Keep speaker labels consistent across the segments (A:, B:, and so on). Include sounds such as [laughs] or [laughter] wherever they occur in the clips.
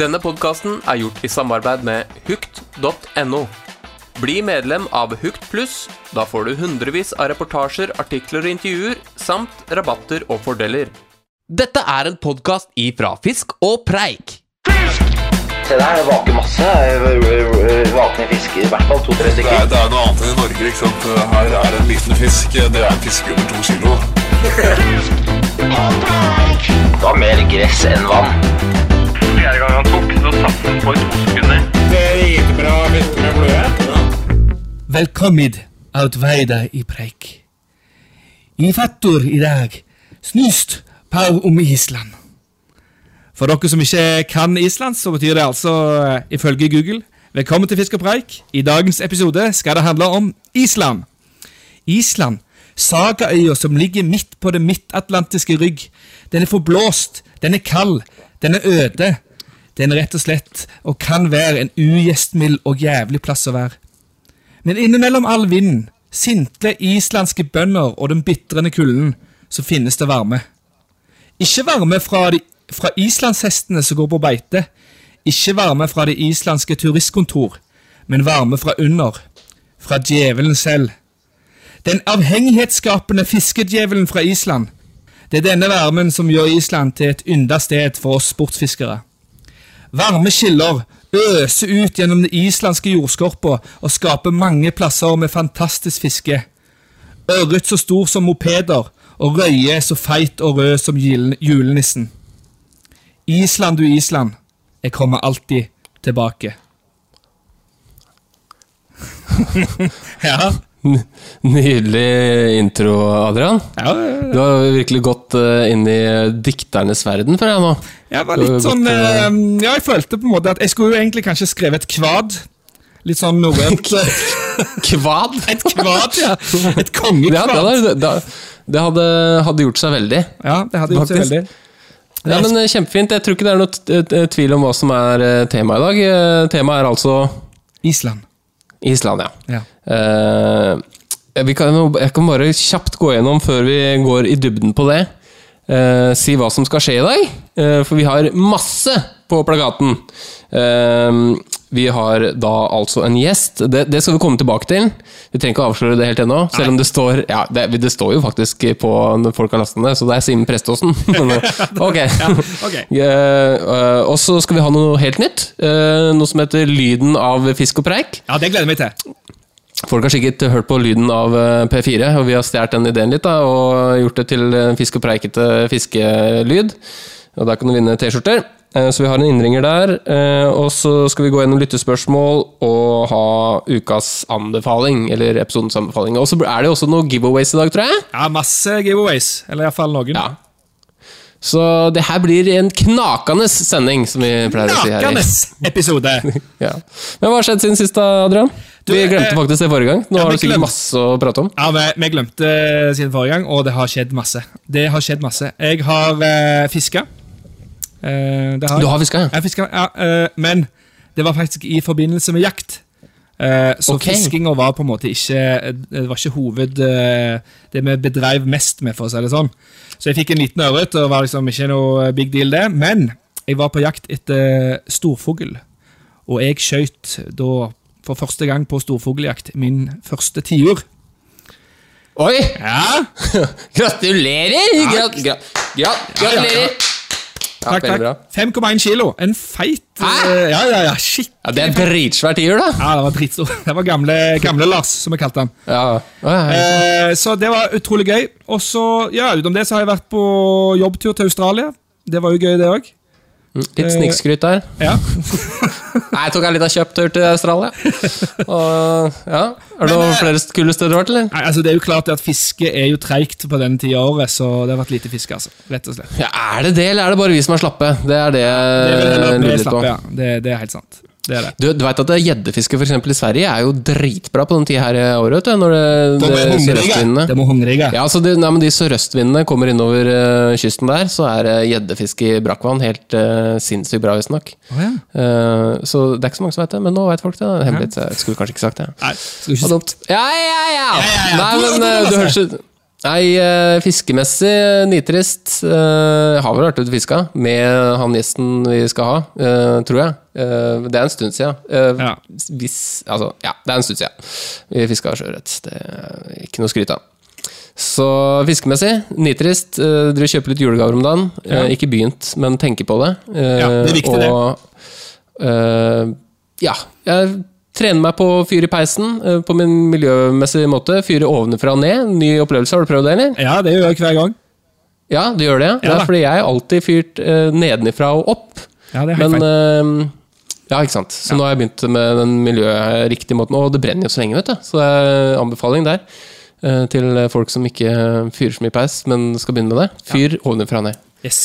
A: Denne podkasten er gjort i samarbeid med hukt.no. Bli medlem av Hukt pluss. Da får du hundrevis av reportasjer, artikler og intervjuer, samt rabatter og fordeler. Dette er en podkast ifra Fisk og Preik.
B: Se der, det vaker masse vakne fisker. I hvert fall to-tre
C: Det
B: stykker.
C: er, det er noe annet enn i Norge. ikke sant? Her er det en liten fisk. Det er en fisk under to kilo.
B: Da mer gress enn vann.
D: Fjerde gang han tok, så satt han på i to sekunder.
E: Velkommen out veida i preik. I fattor i dag snust på om Island.
F: For dere som ikke kan islandsk, så betyr det altså, eh, ifølge Google, velkommen til Fisk og preik. I dagens episode skal det handle om Island. Island, sagaøya som ligger midt på det midtatlantiske rygg. Den er forblåst, den er kald, den er øde. Den er rett og slett, og kan være, en ugjestmild og jævlig plass å være. Men innimellom all vinden, sintle islandske bønder og den bitrende kulden, så finnes det varme. Ikke varme fra, de, fra islandshestene som går på beite. Ikke varme fra det islandske turistkontor, men varme fra under. Fra djevelen selv. Den avhengighetsskapende fiskedjevelen fra Island. Det er denne varmen som gjør Island til et ynda sted for oss sportsfiskere. Varme kilder øser ut gjennom den islandske jordskorpa og skaper mange plasser med fantastisk fiske. Ørret så stor som mopeder, og røye så feit og rød som julen- julenissen. Island, du Island, jeg kommer alltid tilbake. [laughs] ja.
G: Nydelig intro, Adrian.
F: ja, ja,
G: Du har virkelig gått eh, inn i dikternes verden, føler jeg nå.
F: jeg var litt sånn eh, Ja, jeg følte på en måte at jeg skulle jo egentlig kanskje skrevet et kvad. Litt sånn [laughs] norrønt eh,
G: Kvad!
F: Et kvad, ja! Et
G: Ja, det
F: kongekvad.
G: hadde, det- det hadde, hadde gjort seg veldig.
F: Ja, det hadde gjort seg
G: Faktisk.
F: veldig.
G: Ja, men eh, Kjempefint. Jeg tror ikke det er noe t- t- tvil om hva som er eh, temaet i dag. Eh, Temaet er altså
F: Island.
G: Island, ja.
F: Ja.
G: Eh, vi kan, jeg kan bare kjapt gå gjennom før vi går i dybden på det. Eh, si hva som skal skje i dag, eh, for vi har masse på plakaten. Eh, vi har da altså en gjest. Det, det skal vi komme tilbake til. Vi trenger ikke å avsløre det helt ennå. Selv om det står ja, det, det står jo faktisk på når folk har lastet ned, så det er Simen Preståsen. Men, eh, ok.
F: ok.
G: Eh, [laughs] eh, og så skal vi ha noe helt nytt. eh, noe som heter Lyden av fisk og preik.
F: ja, det gleder jeg meg til.
G: Folk har sikkert hørt på lyden av eh, P4, og vi har stjålet den ideen litt da, og gjort det til en fisk og preikete fiskelyd. Og der kan du vinne T-skjorter. Eh, Så vi har en innringer der. eh, Og så skal vi gå gjennom lyttespørsmål og ha ukas anbefaling, eller episodens anbefaling. Og så er det jo også noen giveaways i dag, tror jeg.
F: Ja, Masse giveaways. Eller iallfall noen.
G: Ja. Så det her blir en knakende sending, som vi pleier å si her.
F: Nakende
G: i-
F: episode!
G: Ja. Men hva har skjedd siden sist, da, Adrian?
F: Du,
G: vi glemte
F: eh,
G: faktisk det forrige gang. Nå
F: ja,
G: har
F: vi
G: du sikkert
F: glemte-
G: masse å prate om.
F: Ja, vi, vi glemte eh, siden forrige gang, og det har skjedd masse. Det har skjedd masse. Jeg har uh, fiska. Eh, det har
G: Du
F: jeg.
G: har fiska, ja.
F: Jeg fiska, ja. eh, men det var faktisk i forbindelse med jakt. Eh, så
G: Ok.
F: fiskinga var på en måte ikke eh, Det var ikke hoved eh, Det vi bedreiv mest med, for å si det sånn. Så jeg fikk en liten ørret, og det var liksom ikke noe big deal, det. Men jeg var på jakt etter storfugl, og jeg skjøt da for første gang på storfugljakt min første tiur.
G: Oi!
F: Ja,
G: [laughs] Gratulerer! Grat, grat, grat, gratulerer! Ja,
F: takk,
G: veldig bra.
F: takk. 5,1 kilo. En feit
G: Hæ?
F: eh, Ja, ja, ja, shit.
G: Ja, det er dritsvær tiur, da.
F: Ja, det var dritstor. Det var gamle, gamle Lars, som jeg kalte han.
G: Ja. Ja, ja.
F: Eh, så det var utrolig gøy. Og så, ja, utenom det så har jeg vært på jobbtur til Australia. Det var jo gøy, det òg.
G: Litt snikskryt der.
F: Ja.
G: Nei, jeg tok en liten kjøptur til Australia. Og, ja. Er det
F: eh,
G: noen flere kule steder du har vært, eller?
F: Nei, altså, det er jo klart at fiske er jo treigt på denne tida av året, så det har vært lite fiske, altså. Rett og slett.
G: Ja, er det det, eller er det bare vi som er slappe? Det er det
F: Det er vel
G: jeg
F: heller at vi
G: Eh, lurer litt på.
F: slapper, ja. det, det er helt sant. Det er det.
G: Du, du veit at det er gjeddefiske for eksempel, i Sverige er jo dritbra på den tida her i året, vet du. Når det,
F: De
G: det,
F: er hungrige.
G: sørøstvindene
F: De er hungrige.
G: Ja, altså de, nei, men de sørøstvindene kommer innover eh, kysten der, så er eh, gjeddefiske i brakkvann helt eh, sinnssykt bra, visstnok.
F: Å, ja.
G: Eh, så det er ikke så mange som vet det, men nå vet folk det. det. er en Hemmelighet. så Jeg skulle kanskje ikke sagt det.
F: Nei, skal vi
G: Ja,
F: ikke
G: dumt. Ja, ja, ja!
F: ja, ja.
G: Nei,
F: Du-
G: men
F: du-
G: eh,
F: du-
G: du høres ut Nei, eh, fiskemessig nitrist. eh, Har vel vært ute og fiska med han gjesten vi skal ha, eh, tror jeg. Eh, Det er en stund siden. Eh,
F: Ja.
G: Hvis Altså, ja, det er en stund siden. Vi fiska sjøørret. Det er ikke noe å skryte av. Så fiskemessig, nitrist. eh, Dere kjøper litt julegaver om dagen. Eh, Ikke begynt, men tenker på det. Eh,
F: Ja, det er viktig, det.
G: og, eh, ja. Jeg trener meg på å fyre i peisen eh, på min miljømessige måte. Fyre ovenfra og ned. Ny opplevelse. Har du prøvd det, eller?
F: Ja, det gjør jeg hver gang.
G: Ja, du gjør det? Ja,
F: Ja,
G: det
F: da.
G: er fordi jeg har alltid fyrt eh, nedenifra og opp.
F: Ja, det er helt
G: Men
F: feil.
G: eh, Ja, ikke sant. Så nå har jeg begynt med den miljøriktige måten. Og det brenner jo så lenge, vet du. Så det er anbefaling der. eh, Til folk som ikke eh, fyrer så mye peis, men skal begynne med det. Fyr ovenfra og ned.
F: Yes.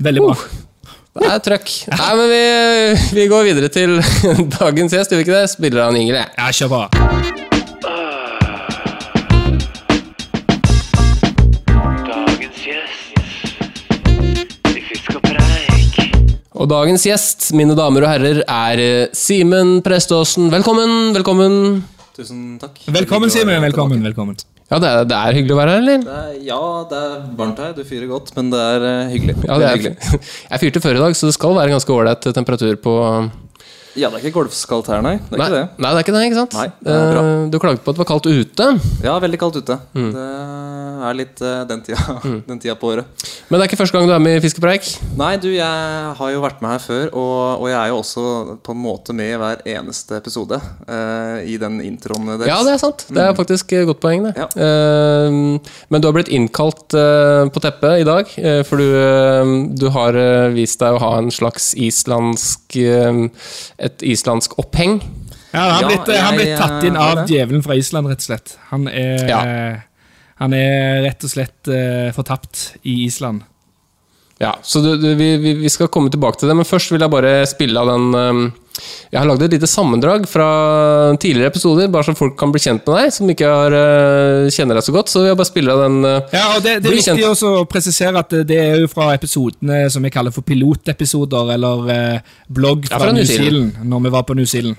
F: Veldig bra.
G: Uh. Det er trøkk. Nei, men vi, vi går videre til [laughs] dagens gjest, gjør vi ikke det? Spiller av en jingle, jeg.
F: Ja, kjør på.
D: Dagens gjest i Fisk og preik.
G: Og dagens gjest, mine damer og herrer, er eh, Simen Preståsen. Velkommen, velkommen.
H: Tusen takk.
F: Velkommen,
H: Hyggelig å
F: Simen.
H: være
F: Velkommen. velkommen.
G: Ja, det er, det er hyggelig å være her, eller?
H: tilbake. Det er, ja, det er varmt her. Du fyrer godt, men det er eh, hyggelig.
G: Ja, det er hyggelig. [laughs] Jeg fyrte før i dag, så det skal være ganske ålreit temperatur på
H: Ja, det er ikke golfskaldt her, nei. Det er
G: nei,
H: ikke det.
G: nei, det er ikke det, ikke sant?
H: Nei, det er bra.
G: Eh, Du klagde på at det var kaldt ute,
H: Ja, veldig kaldt ute.
G: Mm.
H: Det er litt eh, den tida, [laughs] den tida på året.
G: men det er ikke første gang du er med i Fiskepreik.
H: Nei, du, jeg har jo vært med her før, og, og jeg er jo også på en måte med i hver eneste episode eh, i den introen eh, deres.
G: Ja, det er sant. Det er faktisk et godt poeng, det.
H: Mm. Ja.
G: Eh, men du har blitt innkalt eh, på teppet i dag, eh, for du, eh, du har eh, vist deg å ha en slags islandsk eh, Et islandsk oppheng.
F: Ja, han
H: Ja,
F: blitt, han
H: jeg,
F: blitt tatt inn
H: eh,
F: av
H: har det.
F: djevelen fra Island, rett og slett. Han er,
G: Ja.
F: han er rett og slett eh, fortapt i Island.
G: Ja, så du, du, vi, vi, vi skal komme tilbake til det, men først vil jeg bare spille av den eh, Jeg har lagd et lite sammendrag fra tidligere episoder, bare så folk kan bli kjent med deg, som ikke har, eh, kjenner deg så godt. Så vil jeg bare spille av den eh,
F: Ja, og Det, det er
G: Bli kjent.
F: viktig også å presisere at det er jo fra episodene som vi kaller for pilotepisoder, eller eh, blogg
G: Ja,
F: fra, New
G: Zealand.
F: Zealand, når vi var på New Zealand.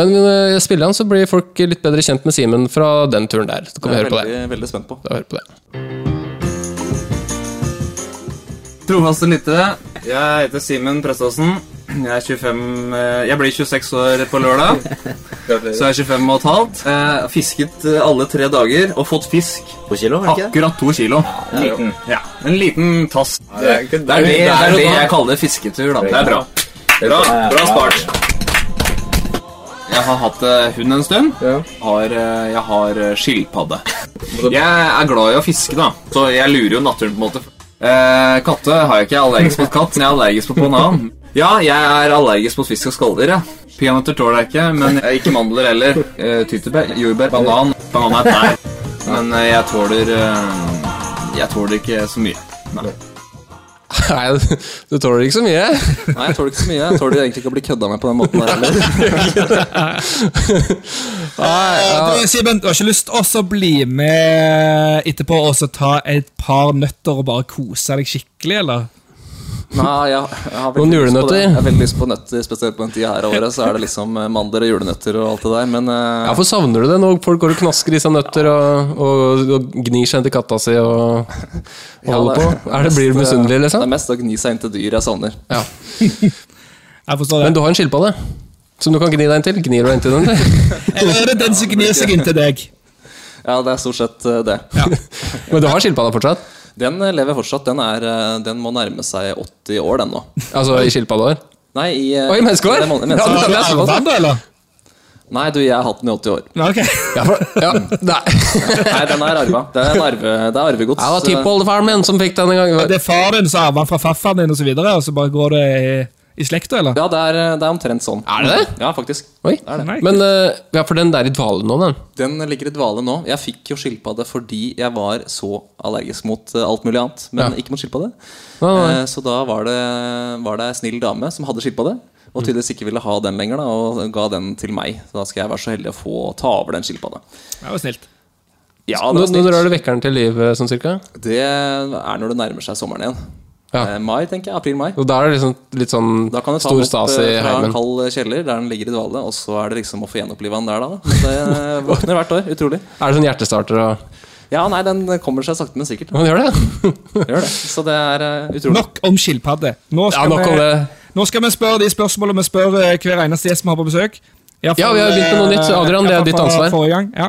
G: Men eh, jeg spiller den, så blir folk litt bedre kjent med Simen fra den turen der. Så kan vi
H: Jeg er
G: høre på det.
H: veldig, veldig spent på.
G: Da hører vi på det. [laughs]
I: Trofaste lyttere, jeg heter Simen Preståsen. Jeg er 25 eh, Jeg blir 26 år på lørdag, så jeg er 25 og et halvt. Jeg har fisket eh, alle tre dager og fått fisk.
B: To kilo, var det ikke det?
I: Akkurat to kilo. Liten. Ja, en liten tass. Det er det, er det, jeg kaller fisketur, da. Det er bra. Bra, bra start. Jeg har hatt eh, hund en stund. Har, eh, jeg har eh, skilpadde. Jeg er glad i å fiske, da, så jeg lurer jo naturen på en måte. Eh, katte har jeg ikke. Jeg er allergisk mot katt, men jeg er allergisk mot banan. Ja, jeg er allergisk mot fisk og skalldyr. jeg. Peanøtter tåler jeg ikke, men jeg- ikke mandler heller. Eh, tyttebær, jordbær, banan. Banan er tær. Men eh, jeg tåler eh, Jeg tåler ikke så mye. Nei.
G: Nei, du- du tåler ikke så mye.
H: Nei, jeg tåler ikke så mye. Jeg tåler egentlig ikke å bli kødda med på den måten her heller.
F: Du, Simen, du har ikke lyst til å bli med etterpå og så ta et par nøtter og bare kose deg skikkelig, eller?
H: Nei, jeg, jeg har
G: Noen
H: veldig lyst på
G: julenøtter?
H: det. Jeg har veldig lyst på nøtter, spesielt på den tida her av året. Så er det liksom eh, mandler og julenøtter og alt det der. Men eh,
G: Ja, for savner du det når folk går og knasker i seg nøtter og, og, og gnir seg inn til katta si og, og holder på? Er det Blir du
H: mest, eh,
G: misunnelig,
H: Det
G: liksom?
H: er mest å gni seg inn til dyr jeg savner.
G: Ja.
F: Jeg forstår
G: Men
F: det.
G: du har en skilpadde som du kan gni deg inn til. Gnir du deg inn til den? eller?
H: [laughs]
F: Eller er det den som gnir seg inn til deg? [laughs]
H: Ja, det er stort sett eh, det.
G: Men du har skilpadda fortsatt?
H: Den eh, lever fortsatt. Den, er, eh, den må nærme seg 80 år, den nå.
G: Altså i skilpaddeår?
H: Nei, i eh,
G: Oi, menneskeår?
H: det må- i
G: Ja,
H: menneskeår.
G: det er
F: Arver
G: såpass.
F: han det, eller?
H: Nei, du, jeg har hatt den i 80 år.
F: Ja, ok.
G: Ja, for, ja.
H: [laughs]
G: Nei.
H: Nei, den er arva. Det er, en arve, det er arvegods.
G: Ja, det var tippoldefaren min som fikk den en gang.
F: Det er far din som arver han fra farfaren din, og så videre, og så bare går det i, i slekta, eller?
H: Ja, det er, det er omtrent sånn.
G: Er det det?
H: Ja, faktisk.
G: Oi. Men eh, ja, for den der i dvale nå, den.
H: Den ligger i dvale nå. Jeg fikk jo skilpadde fordi jeg var så allergisk mot eh, alt mulig annet, men
G: Ja.
H: ikke mot skilpadde.
G: Nei, nei.
H: Eh, Så da var det, var det ei snill dame som hadde skilpadde,
G: Mm.
H: og tydeligvis ikke ville ha den lenger, da, og ga den til meg. Så da skal jeg være så heldig å få ta over den skilpadda.
F: Det var snilt.
H: Ja, det
G: Nå,
H: var
G: nå
H: snilt.
G: drar du vekkeren til liv, eh, sånn cirka?
H: Det er når det nærmer seg sommeren igjen.
G: Ja.
H: Eh, Mai, tenker jeg. April-mai.
G: Og da er det liksom litt sånn
H: Da kan du ta
G: stor
H: den opp
G: stas i
H: eh, fra en
G: heimen.
H: kald kjeller der den ligger i dvale, og så er det liksom å få gjenopplive den der, da. Men Det eh, våkner hvert år. Utrolig.
G: Er det sånn hjertestarter og
H: Ja, nei, den kommer seg sakte, men sikkert.
G: Han gjør det.
H: Gjør det. Så det er eh, utrolig.
F: Nok om skilpadde. Nå
G: Ja,
F: skal,
G: nok om
F: vi,
G: det.
F: nå skal vi spørre de spørsmålene vi spør eh, hver eneste gjest vi har på besøk. I hvert
G: Ja,
F: fall,
G: vi har begynt med noe
F: eh,
G: nytt, Adrian,
F: i
G: det er
F: hvert fall
G: ditt
F: fra
G: ansvar.
F: Forrige gang, ja.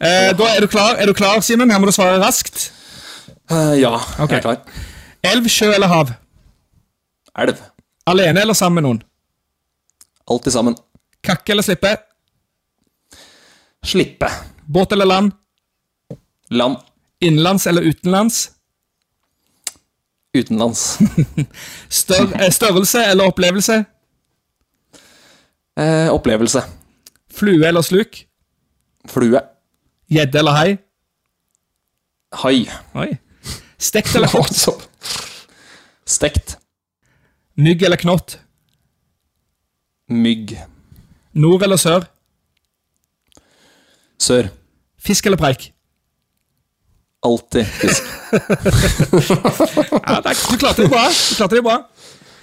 F: Eh, da er du klar, Er du klar, Simen? Her må du svare raskt.
H: Eh, ja,
F: Ok.
H: jeg er klar.
F: Elv, sjø eller hav?
H: Elv.
F: Alene eller sammen med noen?
H: Alt til sammen.
F: Kakke eller slippe?
H: Slippe.
F: Båt eller land?
H: Land.
F: Innenlands eller utenlands?
H: Utenlands.
F: Stør, eh, størrelse eller opplevelse?
H: Eh, opplevelse.
F: Flue eller sluk?
H: Flue.
F: Gjedde eller hai?
H: Hai.
F: Oi. Stekt eller kokt?
H: Stekt.
F: Mygg eller knott?
H: Mygg.
F: Nord eller sør?
H: Sør.
F: Fisk eller preik?
H: Alltid fisk.
F: Ja, takk. Du klarte det bra. Du klarte det bra.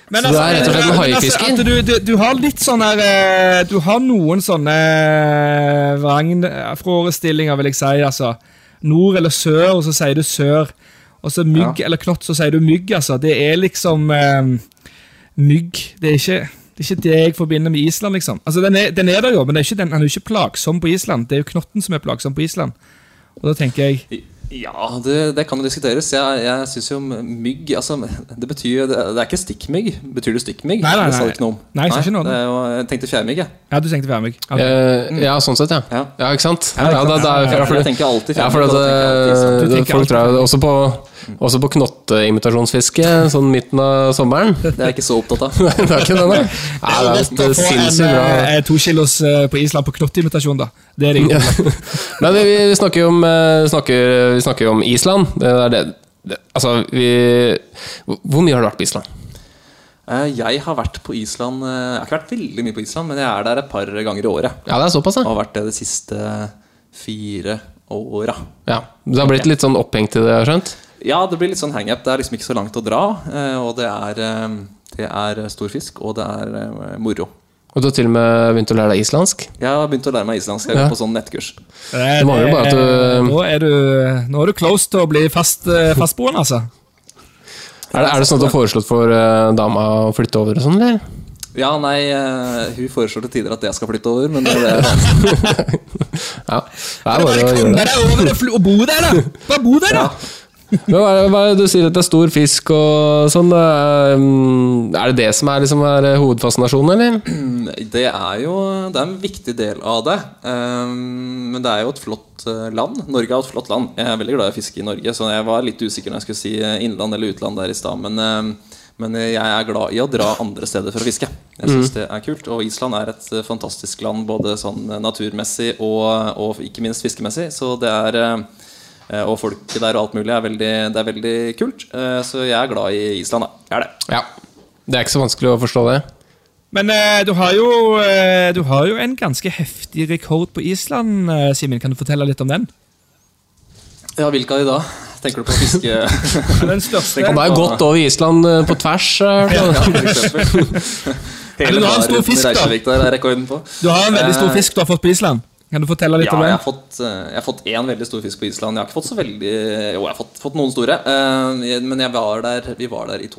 F: Men altså,
G: Så du er rett og slett en
F: men
G: haifisker?
F: at du, du, du har litt sånn her eh, Du har noen sånne eh, vrangforestillinger, vil jeg si. altså. Nord eller sør, og så sier du sør. Og så mygg eller knott, så sier du mygg. altså. Det er liksom eh, mygg. Det er ikke det er ikke det jeg forbinder med Island. liksom. Altså, Den er, den er der jo, men det er ikke den, han er jo ikke plagsom på Island. Det er jo knotten som er plagsom på Island. Og da tenker jeg
H: Ja, det, det kan jo diskuteres. Jeg, jeg syns jo mygg altså, Det betyr jo Det det er ikke stikkmygg. Betyr det stikkmygg?
F: Nei, nei,
H: Det
F: nei.
H: sa du ikke noe om.
F: Nei, jeg sa ikke noe om
H: det. er jo, jeg tenkte fjærmygg, jeg.
F: Ja, du tenkte værmygg. Ok.
G: Eh, ja, sånn sett, ja.
H: Ja.
G: Ja, ikke sant? Ja, da, da, ja, for
H: Jeg
G: det,
H: tenker alltid
G: ja, for at,
H: fjærmygg. og da tenker jeg alltid island.
G: eh,
F: Du tenker
G: folk drar jo også på, også på knotteimitasjonsfiske sånn midten av sommeren. [laughs]
H: Det er jeg ikke så opptatt av.
G: Nei, det er ikke det, nei. Nei, det
F: Lett
G: er
F: å
G: et
F: få en
G: sinnssykt bra
F: eh, to kilos eh, på Island på knottimitasjon, da. Det er det jo. Eh,
G: Nei, men vi, vi snakker jo om, eh, vi snakker, vi snakker jo om Island. Det er det, det, altså, vi hvor- Hvor mye har du vært på Island?
H: Eh, Jeg har vært på Island eh, Jeg har ikke vært veldig mye på Island, men jeg er der et par ganger i året.
G: Ja, det er såpass,
H: Og
G: ja.
H: har vært det de siste fire åra.
G: ja. Du har blitt litt sånn opphengt i det, har jeg skjønt?
H: Ja, det blir litt sånn hangup. Det er liksom ikke så langt å dra. eh, Og det er, eh, det er stor fisk, og det er eh, moro.
G: Og du har til og med begynt å lære deg islandsk?
H: Jeg har begynt å lære meg islandsk. Jeg
G: Ja.
H: går på sånn nettkurs.
F: Det
G: mangler
F: er-
G: bare at du-
F: Nå er du Nå er du close til å bli fast, eh, fastboende, altså.
G: Er det, er det sånn at du har foreslått for eh, dama å flytte over og sånn, eller?
H: Ja, nei, eh, hun foreslår til tider at jeg skal flytte over, men det er vanskelig.
G: Ja, det er bare å gjøre
F: Kom
G: det.
F: deg over det fl- og bo der, da! Bare bo der, da!
G: Men hva er, det- hva er det du sier at det er stor fisk og sånn? eh, Er det det som er, liksom, er eh, hovedfascinasjonen, eller?
H: Det er jo det er en viktig del av det. Ehm, men det er jo et flott eh, land. Norge er jo et flott land. Jeg er veldig glad i å fiske i Norge, så jeg var litt usikker når jeg skulle si eh, innland eller utland der i stad. Men, ehm, men jeg er glad i å dra andre steder for å fiske. Jeg syns det er kult. Og Island er et eh, fantastisk land både sånn eh, naturmessig og, og ikke minst fiskemessig. Så det er eh, eh, Og folket der og alt mulig er veldig, det er veldig kult. Eh, Så jeg er glad i Island, da. Jeg er det.
G: Ja. Det er ikke så vanskelig å forstå det.
F: Men eh, du, har jo, eh, du har jo en ganske heftig rekord på Island, eh, Simen. Kan du fortelle litt om den?
H: Ja, hvilke av de da? Tenker du på [laughs] fiske...
F: Den største
G: Han er jo godt over Island eh, på tvers. eh,
H: [laughs] Eller
F: du har en stor fisk, da.
H: Der er rekorden på.
F: Du har en veldig
G: Eh.
F: stor fisk du har fått på Island. Kan du fortelle litt
H: Ja,
F: om
H: jeg har,
G: [laughs]
F: den?
H: fått, eh, jeg har fått én veldig stor fisk på Island. Jeg har ikke fått så veldig Jo, jeg har fått, fått noen store. eh, Men jeg var der, vi var der i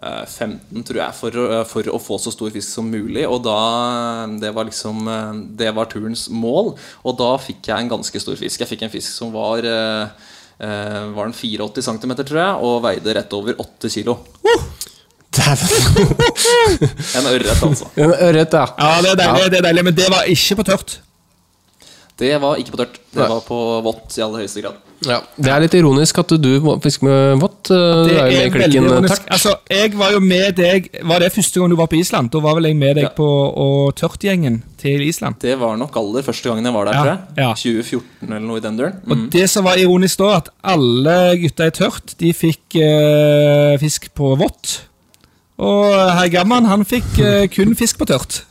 H: 2015, tror jeg, for, å- for å få så stor fisk som mulig. Og da Det var liksom eh, Det var turens mål. Og da fikk jeg en ganske stor fisk. Jeg fikk en fisk som var eh, eh, var den 84 cm, tror jeg, og veide rett over 8 kg.
G: Dæven.
H: En ørret, altså.
G: En ørret, ja.
F: Ja, det er deilig, det er deilig, men det var ikke på tørt.
H: Det var ikke på tørt.
G: Nei.
H: Det var på vått i aller høyeste grad.
G: ja. Det er litt ironisk at du må fiske med vått. eh,
F: Det
G: Det er jo
F: er
G: med
F: veldig
G: klikken eh,
F: ironisk.
G: tørt.
F: Altså, jeg var jo med deg Var det første gang du var på Island? Da var vel jeg med deg
H: Ja.
F: på og Tørtgjengen til Island.
H: Det var nok aller første gangen jeg var der,
F: Ja,
H: tror jeg.
F: ja.
H: 2014 eller noe i den duren. Mm.
F: Og
G: Mm.
F: det som var ironisk da, at alle gutta i Tørt de fikk eh, fisk på vått. Og herr Gamman, han fikk eh, kun fisk på tørt.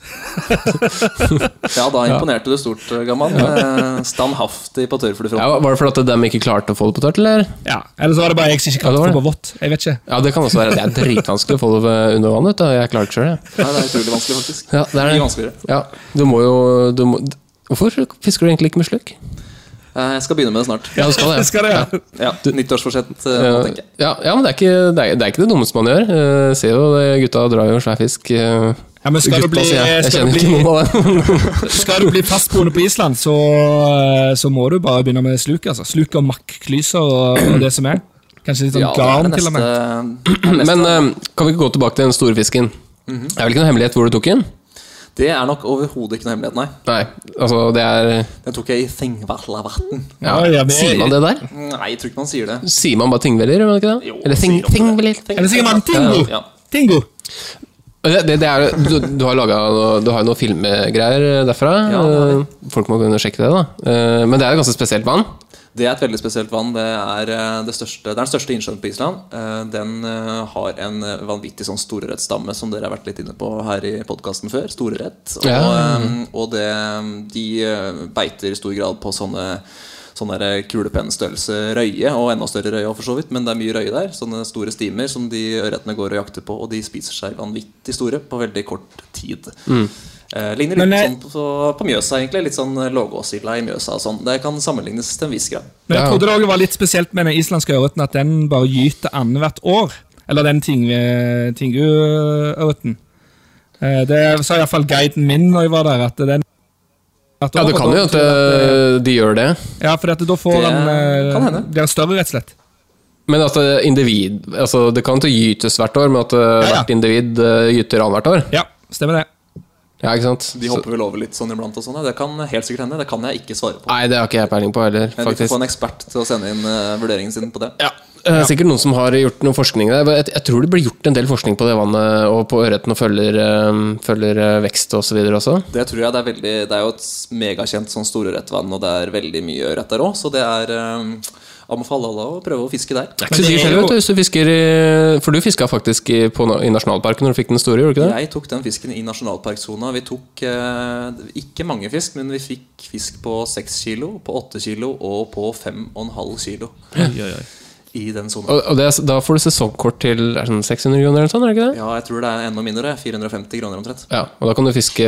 H: Ja, da imponerte du stort, gammal. Eh, Standhaftig på
G: Ja,
H: tørrfluefronten.
G: var det fordi at dem ikke klarte å få det på tørt, eller?
F: Ja, Eller så var det bare jeg som ikke
G: Ja, det
F: klarte å
G: var det.
F: få på vått. Jeg vet ikke.
G: Ja, det kan også være. Det er dritvanskelig å få det eh, under vann. Vet du. Jeg klarer det ikke sjøl, jeg.
H: Nei, det er utrolig vanskelig, faktisk.
G: Ja, det er
H: Mye
G: det.
H: vanskeligere.
G: Ja, du må jo du må, Hvorfor fisker du egentlig ikke med sluk?
H: Eh, Jeg skal begynne med det snart.
G: Ja, du [laughs] skal det.
F: Skal det, ja.
H: Ja, Nyttårsforsett, eh, nå,
G: Eh,
H: tenker jeg.
G: Ja, ja, men det er, ikke, det, er, det er ikke det dummeste man gjør. Eh, ser jo det, gutta drar jo svær fisk. eh,
F: Ja, men skal
G: gutta,
F: du bli,
G: sier jeg. Jeg
F: skal du
G: kjenner ikke
F: bli,
G: noen av dem.
F: skal du bli fastboende på Island, så, eh, så må du bare begynne med sluk. altså. Sluk og makkklyser og, og det som er. Kanskje litt sånn
H: Ja, det er
F: garn,
H: det
F: til og med.
H: neste-
G: [laughs] Men eh, kan vi ikke gå tilbake til den store fisken? Det er vel ikke noen hemmelighet hvor du tok den?
H: Det er nok overhodet ikke noe hemmelighet, nei.
G: Nei, altså det er
H: Den tok jeg i Thingvallavatn.
G: ja.
F: Ja, ja, men-
G: Sier man det der?
H: Nei, jeg tror ikke man sier det.
G: Sier man bare tingveller, gjør man ikke det?
H: Jo,
G: Eller ting,
H: sier man det.
G: tingveller.
H: Thing-
F: Eller sikkert man tingo.
H: Ja.
F: Tingo.
G: Det, det, det er, du, du har laga noe, du har jo noen filmgreier derfra.
H: Ja, det har vi.
G: Eh, Folk må gå inn og sjekke det, da. Eh, Men det er et ganske spesielt vann.
H: Det er et veldig spesielt vann. Det er, eh, det største, det er den største innsjøen på Island. Eh, Den eh, har en eh, vanvittig sånn storørretstamme som dere har vært litt inne på her i podkasten før. Storørret. Og,
G: Ja.
H: eh, og det, de eh, beiter i stor grad på sånne Sånn der kulepennstørrelse røye, og enda større røye. også, for så vidt Men det er mye røye der. Sånne store stimer som de ørretene går og jakter på. Og de spiser seg vanvittig store på veldig kort tid.
G: Mhm.
H: Eh, ligner litt
F: Men, eh,
H: sånn på, på Mjøsa, egentlig. Litt sånn eh, lågåsilda i Mjøsa og sånn. Det kan sammenlignes til en viss grad.
F: Men jeg
G: Ja.
F: trodde det også var litt spesielt med den islandske ørreten at den bare gyter annethvert år. Eller den ting- eh, tingu-ørreten. Eh, Det sa iallfall guiden min når jeg var der. at den at
G: Ja, det kan jo at eh, de gjør det.
F: Ja, for at da får
H: Det kan
F: den
H: hende.
F: eh, blir større, rett og slett.
G: Men at eh, individ altså Det kan ikke gytes hvert år, men at eh,
F: ja.
G: hvert individ eh, gyter annethvert år.
F: Ja, stemmer det.
G: Ja, ikke sant?
H: De hopper vel over litt sånn iblant og sånn. ja. Det kan helt sikkert hende. Det kan jeg ikke svare
G: Så,
H: på.
G: nei, det har ikke jeg peiling på heller,
H: Men vi får
G: faktisk.
H: få en ekspert til å sende inn eh, vurderingen sin på det.
G: Ja. Eh, Sikkert noen som har gjort noe forskning der. Jeg, jeg tror det blir gjort en del forskning på det vannet og på ørreten og følger, eh, følger eh, vekst og så videre også.
H: Det tror jeg det er veldig Det er jo et megakjent sånn storørretvann, og det er veldig mye ørret der òg, så det er eh, Anbefaler alle å prøve å fiske der.
G: Det er ikke så
F: det
G: dyrt
F: er
G: heller,
F: jo-
G: vet du, hvis du fisker i For du fiska faktisk i, på, na- i nasjonalparken når du fikk den store, gjorde du ikke det?
H: Jeg tok den fisken i nasjonalparksona. Vi tok eh, ikke mange fisk, men vi fikk fisk på 6 kilo, på 8 kilo og på 5,5 kilo i den sona.
G: Og, og det, er s- da får du sesongkort til er det sånn 600 kroner eller sånn, er det ikke det?
H: Ja, jeg tror det er enda mindre. 450 kroner omtrent.
G: Ja, og da kan du fiske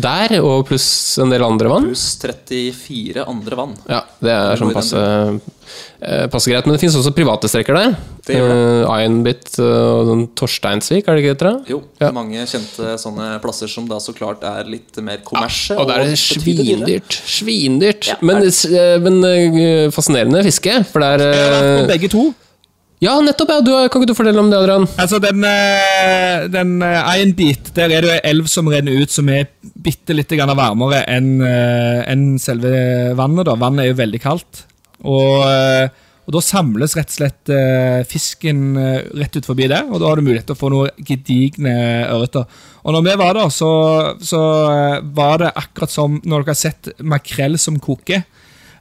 G: der, og pluss en del andre vann.
H: Pluss 34 andre vann.
G: Ja, det er sånn
H: Hvor den
G: passe, eh, passe greit. Men det finnes også private strekker der.
H: Det gjør
G: Eh, Ironbit eh, og den Torsteinsvik, er det ikke det? heter det?
H: Jo,
G: Ja.
H: mange kjente sånne plasser som da så klart er litt mer kommersie.
G: Og der er det
H: betydelig dyrere.
G: svindyrt. Svindyrt. men eh, men eh, fascinerende fiske, for
F: Og
G: det er eh,
F: begge to.
G: Ja, nettopp! ja, du, Kan ikke du fortelle om det, Adrian?
F: Altså, den, eh, den eh, en bit, der er det jo ei elv som renner ut, som er bitte litt grann varmere enn eh, enn selve vannet. da. Vannet er jo veldig kaldt. Og, eh, og da samles rett og slett eh, fisken eh, rett ut forbi der, og da har du mulighet til å få noen gedigne ørreter. Og når vi var der, så, så eh, var det akkurat som når dere har sett makrell som koker.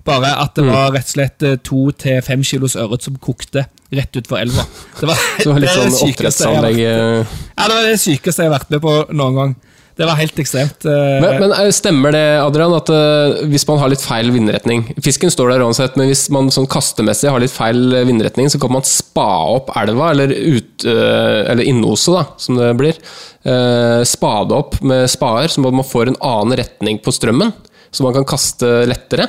F: Bare at det var rett og slett eh, to til fem kilos ørret som kokte rett utfor elva. Det var,
G: Du har litt
F: det er det
G: sånn
F: sykeste jeg har vært-
G: oppdrettsanlegg eh.
F: ja, det var det sykeste jeg har vært med på noen gang. Det var helt ekstremt. eh,
G: men, men eh, stemmer det, Adrian, at eh, hvis man har litt feil vindretning Fisken står der uansett, men hvis man sånn kastemessig har litt feil eh, vindretning, så kan man spa opp elva, eller, ut, eh, eller innose, da, som det blir. Eh, Spade opp med spader, så man får en annen retning på strømmen. Så man kan kaste lettere.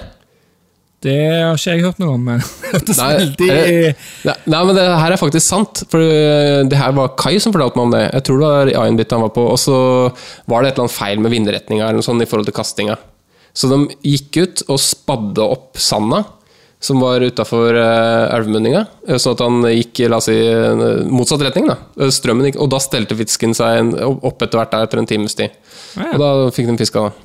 F: Det har ikke jeg hørt noe om. men [laughs] Det hørtes veldig
G: eh, nei, nei, men det her er faktisk sant. For eh, det her var Kai som fortalte meg om det. Jeg tror det var Ayenbit han var på. Og så var det et eller annet feil med vindretninga eller noe sånt i forhold til kastinga. Så de gikk ut og spadde opp sanda som var utafor elvemunninga. eh, Sånn at han gikk la oss si, eh, motsatt retning. da Eh, Strømmen gikk, Og da stelte fisken seg en, opp etter hvert der etter en times tid. Og da fikk de fiska, da.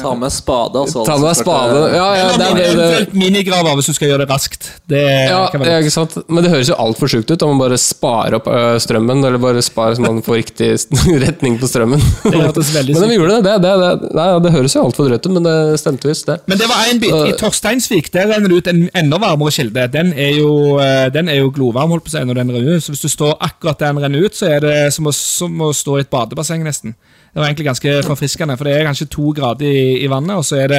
H: Ta med spade, altså.
G: Ta
H: alle
G: med
H: som
G: spade.
H: klarte-
G: Ja,
F: [laughs]
G: ja, det, er det, det,
F: Eventuelt minigraver hvis du skal gjøre det raskt. Det
G: eh, Ja,
F: kan
G: det
F: være
G: Eh, er ikke sant. Men det høres jo altfor sjukt ut om man bare sparer opp ø, strømmen, eller bare sparer så man får riktig [laughs] retning på strømmen.
F: hørtes veldig
G: men de gjorde det. Det, det, det, nei, ja, det høres jo altfor drøyt ut, men det stemte visst, det.
F: Men det var én bit. I Torsteinsvik der renner det ut en enda varmere kilde. Den er jo, eh, den er jo glovarm holdt på å si, når den renner ut. Så hvis du står akkurat der den renner ut, så er det som å, som å stå i et badebasseng, nesten. Det var egentlig ganske forfriskende, for det er kanskje to grader i, i vannet, og så er det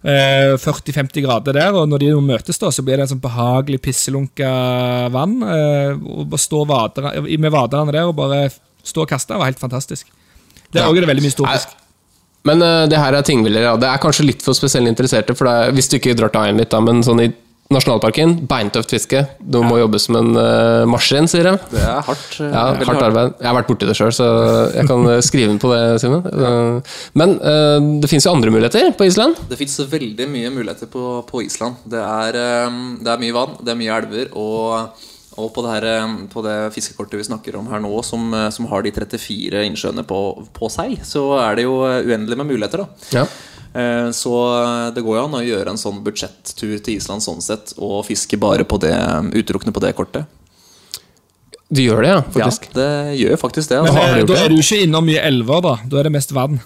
F: eh, 40-50 grader der, og når de jo møtes, da, så blir det en sånn behagelig pisselunka vann. eh, og bare stå vadere, med vaderne der og bare stå og kaste var helt fantastisk. Der òg er det veldig mye stor
G: Nei,
F: fisk.
G: Men eh, det her er tingviller, ja. Det er kanskje litt for spesielt interesserte, for det er, hvis du ikke drar til øyen litt, da, men sånn i nasjonalparken, beintøft fiske. Du må jobbe som en eh, maskin, sier jeg.
H: Det er hardt. eh,
G: Ja,
H: veldig
G: hardt arbeid. Jeg har vært borti det sjøl, så jeg kan eh, skrive inn på det, Simen. Eh, Men eh, det fins jo andre muligheter på Island.
H: Det fins veldig mye muligheter på, på Island. Det er, eh, det er mye vann, det er mye elver. Og, og på, det her, eh, på det fiskekortet vi snakker om her nå, som, eh, som har de 34 innsjøene på, på seg, så er det jo eh, uendelig med muligheter. da
G: Ja.
H: Eh, Så det går jo an å gjøre en sånn budsjettur til Island sånn sett, og fiske bare på det, utelukkende på det kortet.
G: Du gjør det, ja, faktisk.
H: Ja, det gjør faktisk det.
F: Men
H: Altså.
F: eh, da er du ikke innom mye elver, da. Da er det mest vann.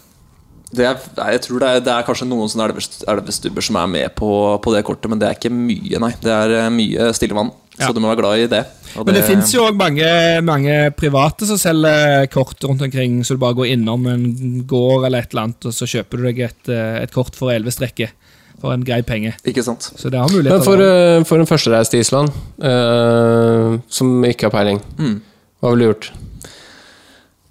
H: Det er, nei, jeg tror det er, det er kanskje noen sånne elvest- elvestubber som er med på, på det kortet, men det er ikke mye, nei. Det er eh, mye stille vann,
F: Ja.
H: så du må være glad i det. Og
F: Men det fins jo òg mange, mange private som selger kort rundt omkring, så du bare går innom en gård eller et eller annet, og så kjøper du deg et, eh, et kort for elleve strekker for en grei penge.
H: Ikke sant?
F: Så det har muligheter.
G: Men for,
F: da.
G: eh, for en førstereis til Island, eh, som ikke har peiling, hva ville du [laughs] gjort?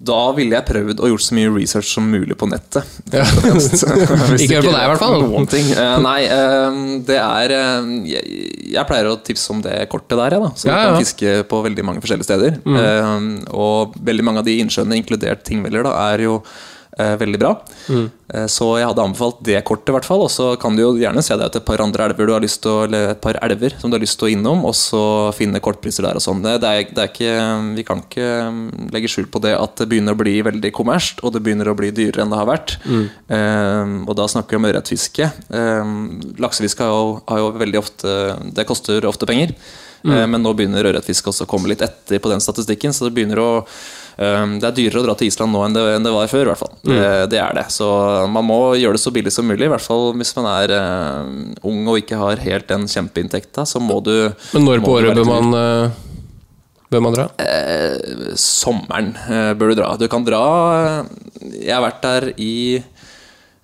H: Da ville jeg prøvd å gjort så mye research som mulig på nettet.
G: Ja. Ikke hør på deg, i hvert fall.
H: Noen
G: [laughs]
H: ting. Eh, nei, eh, det er eh, jeg, jeg pleier å tipse om det kortet der, jeg, da. Så du
G: Ja, ja.
H: kan fiske på veldig mange forskjellige steder. Eh, og veldig mange av de innsjøene, inkludert Tingveller, da, er jo eh, veldig bra. Eh, så jeg hadde anbefalt det kortet, i hvert fall. Og så kan du jo gjerne se deg ut et par andre elver du har lyst til å, eller et par elver som du har lyst til å innom, og så finne kortpriser der og sånn. Det, det, er- det er ikke Vi kan ikke eh, legge skjul på det at det begynner å bli veldig kommersielt, og det begynner å bli dyrere enn det har vært. Eh, og da snakker vi om ørretfiske. Eh, laksefiske har jo, har jo veldig ofte Det koster ofte penger.
G: Mm.
H: Eh, Men nå begynner ørretfiske også å komme litt etter på den statistikken. Så det begynner å ehm, Det er dyrere å dra til Island nå enn det, enn det var før, i hvert fall.
G: Mm.
H: Eh, Det er det. Så man må gjøre det så billig som mulig, i hvert fall hvis man er eh, ung og ikke har helt den kjempeinntekta, så må du
G: Men når på
H: må du
G: året
H: være
G: bør
H: litt
G: man, eh, bør man dra?
H: sommeren eh, bør du dra. Du kan dra eh, Jeg har vært der i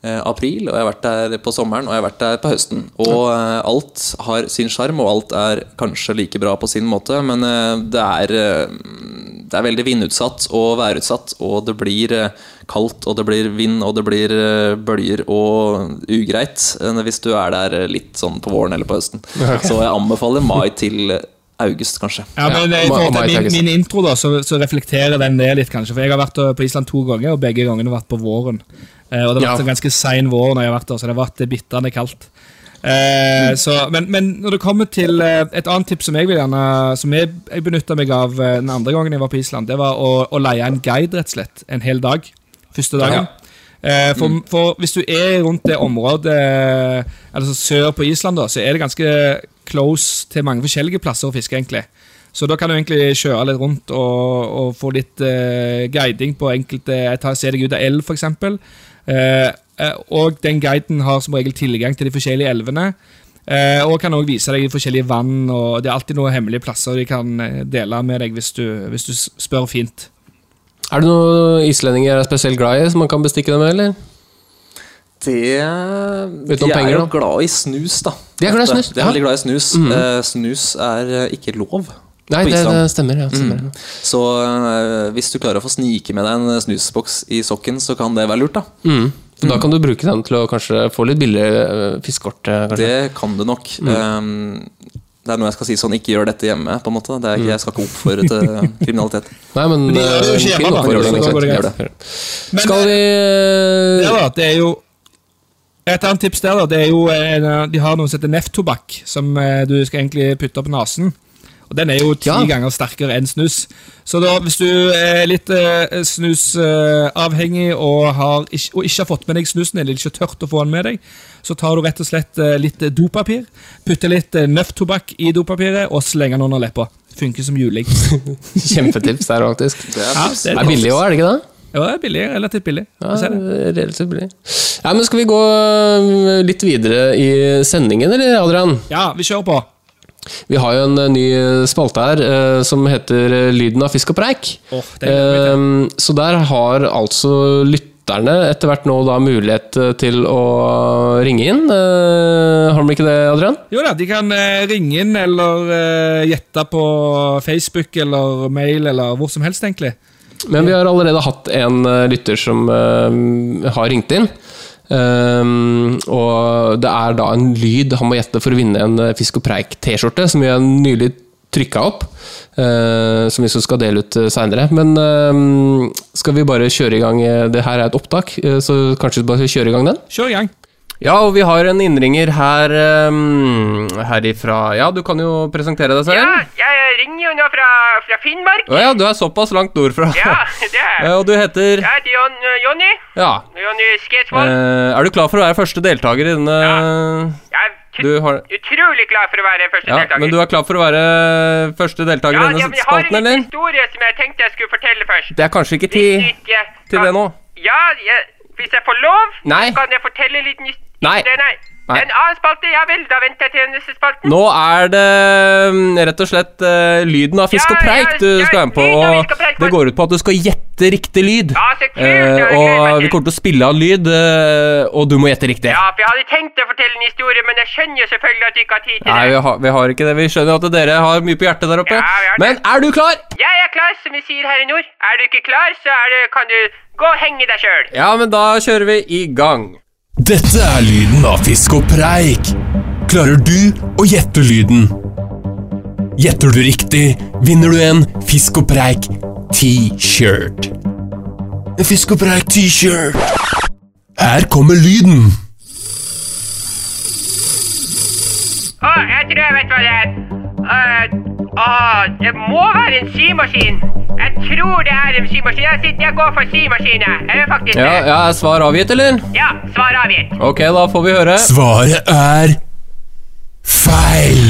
H: eh, april, og jeg har vært der på sommeren, og jeg har vært der på høsten. Og eh, alt har sin sjarm, og alt er kanskje like bra på sin måte, men eh, det er eh, det er veldig vindutsatt og værutsatt, og det blir eh, kaldt, og det blir vind, og det blir eh, bølger og ugreit eh, hvis du er der eh, litt sånn på våren eller på høsten. Så jeg anbefaler mai til august, kanskje.
F: ja, men eh,
G: ja,
F: jeg
G: ma-
F: tror at
G: ma-
F: min,
G: ikke sant.
F: min intro da, så, så reflekterer den det litt, kanskje. For jeg har vært eh, på Island to ganger, og begge gangene har vært på våren. Eh, og det har vært en ganske sein vår når jeg har vært der, så det har vært eh, bitrende kaldt. Eh, så, men, men når det kommer til eh, et annet tips som jeg vil gjerne Som jeg, jeg benytta meg av eh, den andre gangen jeg var på Island, det var å, å leie en guide, rett og slett. En hel dag. Første dagen. Eh, for, for hvis du er rundt det området eh, Altså sør på Island, da, så er det ganske close til mange forskjellige plasser å fiske, egentlig. Så da kan du egentlig kjøre litt rundt og, og få litt eh, guiding på enkelte ta, Se deg ut av elv, f.eks. Eh, eh, og den guiden har som regel tilgang til de forskjellige elvene. Eh, og kan også vise deg i forskjellige vann. og Det er alltid noen hemmelige plasser de kan eh, dele med deg hvis du, hvis du s- spør fint.
G: Er det noen islendinger jeg er spesielt glad i, som man kan bestikke dem med, eller?
H: Det De
G: om penger,
H: er jo
G: da.
H: glad i snus, da.
G: De er glad i snus,
H: De er
G: ja. Mhm.
H: veldig glad i snus. Eh, snus er eh, ikke lov
G: Nei,
H: på
G: det,
H: Island.
G: det stemmer. Ja, stemmer.
H: Så eh, hvis du klarer å få snike med deg en eh, snusboks i sokken, så kan det være lurt, da.
G: Mm. Så Da kan du bruke den til å kanskje få litt billigere eh, fiskekort. eh, kanskje.
H: Det kan du nok.
G: Mhm.
H: Eh, det er noe jeg skal si sånn ikke gjør dette hjemme, på en måte. Det er
G: Mhm.
H: ikke, jeg skal ikke oppfordre
G: [laughs]
H: til eh, kriminalitet.
G: Nei, men
F: Men de gjør det jo
G: eh,
F: ikke hjemme,
G: fin
F: da. Så
G: oppfordring,
F: da
G: ikke sant?
F: går det greit.
G: Gjør det.
F: Men, eh,
G: Skal vi eh,
F: Det, da, det er jo Et annet tips der, da, det er jo eh, De har noe som heter nefftobakk, som eh, du skal egentlig putte opp nesen. Og Den er jo ti
G: Ja.
F: ganger sterkere enn snus. Så da, hvis du er litt eh, snusavhengig og, har ikk- og ikke har fått med deg snusen, eller ikke har tørt å få den med deg, så tar du rett og slett eh, litt dopapir, putter litt eh, nøfftobakk i dopapiret og slenger den under leppa. Funker som
G: [laughs]
F: juling.
G: Kjempetips der, faktisk. Det
F: Ja, det
G: er billig òg, er det ikke det?
F: Ja, det er billig. Relativt billig.
G: Ja,
F: Jeg ser det.
G: relativt billig. Ja, men skal vi gå eh, litt videre i sendingen, eller, Adrian?
F: ja vi kjører på.
G: Vi har jo en eh, ny eh, spalte her eh, som heter eh, Lyden av fisk og preik.
F: Åh, det gleder
G: Eh, så der har altså lytterne etter hvert nå da mulighet eh, til å ringe inn. Eh, har de ikke det, Adrian?
F: Jo da, de kan eh, ringe inn eller eh, gjette på Facebook eller mail eller hvor som helst, egentlig.
G: Men vi har allerede hatt en eh, lytter som eh, har ringt inn. Ehm, og det er da en lyd han må gjette for å vinne en eh, Fisk og Preik-T-skjorte, som vi har nylig trykka opp. eh, som vi så skal dele ut seinere. Men ehm, skal vi bare kjøre i gang eh, Det her er et opptak, eh, så kanskje vi bare skal kjøre i gang den?
F: Kjør i gang.
G: Ja, og vi har en innringer her um, herifra Ja, du kan jo presentere deg selv.
D: Ja, jeg ringer jo nå fra, fra Finnmark.
G: Å ja, du er såpass langt nordfra.
D: Ja, det er
G: [laughs] Ja, og du heter
D: Jeg heter Jon, Jonny.
G: Ja.
D: Jonny Skedsvold.
G: Eh, er du klar for å være første deltaker i denne
D: Jeg er tut-
G: Du har
D: utrolig glad for å være første
G: Ja,
D: deltaker.
G: men du er klar for å være første deltaker i
D: ja, ja, men
G: denne
D: jeg har en
G: spalten,
D: liten
G: eller?
D: historie som jeg tenkte jeg skulle fortelle først.
G: Det er kanskje ikke
D: Hvis
G: tid
D: ikke jeg
G: til
D: kan-
G: det nå.
D: Ja, jeg, hvis jeg får lov,
G: Nei.
D: kan jeg fortelle en liten his-
G: Nei.
D: Det- nei.
G: Nei.
D: En annen spalte? Ja vel, da venter jeg til neste spalten.
G: Nå er det mm, rett og slett eh, lyden av fisk
D: Ja,
G: og preik
D: ja,
G: du
D: ja,
G: skal være med på.
D: lyd av fisk og preik,
G: Og det går ut på at du skal gjette riktig lyd.
D: Ja, så kult,
G: Eh,
D: ja, det gleder jeg meg
G: og vi
D: til.
G: kommer til å spille av lyd, eh, og du må gjette riktig.
D: Ja, for jeg hadde tenkt å fortelle en historie, men jeg skjønner jo selvfølgelig at du ikke har tid til
G: Nei,
D: det.
G: vi har, vi har ikke det. Vi skjønner at dere har mye på hjertet der oppe.
D: Ja, vi har det.
G: Men er du klar?
D: Jeg er klar, som vi sier her i nord. Er du ikke klar, så er det, kan du gå og henge deg sjøl.
G: Ja, men da kjører vi i gang.
C: Dette er lyden av fisk og preik. Klarer du å gjette lyden? Gjetter du riktig, vinner du en fisk og preik T-shirt. En fisk og preik T-shirt. Her kommer lyden.
D: Å, jeg tror jeg vet hva det er. Uh, å, det må være en symaskin. Jeg tror det er en symaskin. Jeg, sitter, jeg går for symaskin, jeg. Jeg gjør faktisk
G: Ja,
D: det.
G: ja, Er svar avgitt, eller?
D: Ja, svar avgitt.
G: Ok, da får vi høre.
C: Svaret er feil.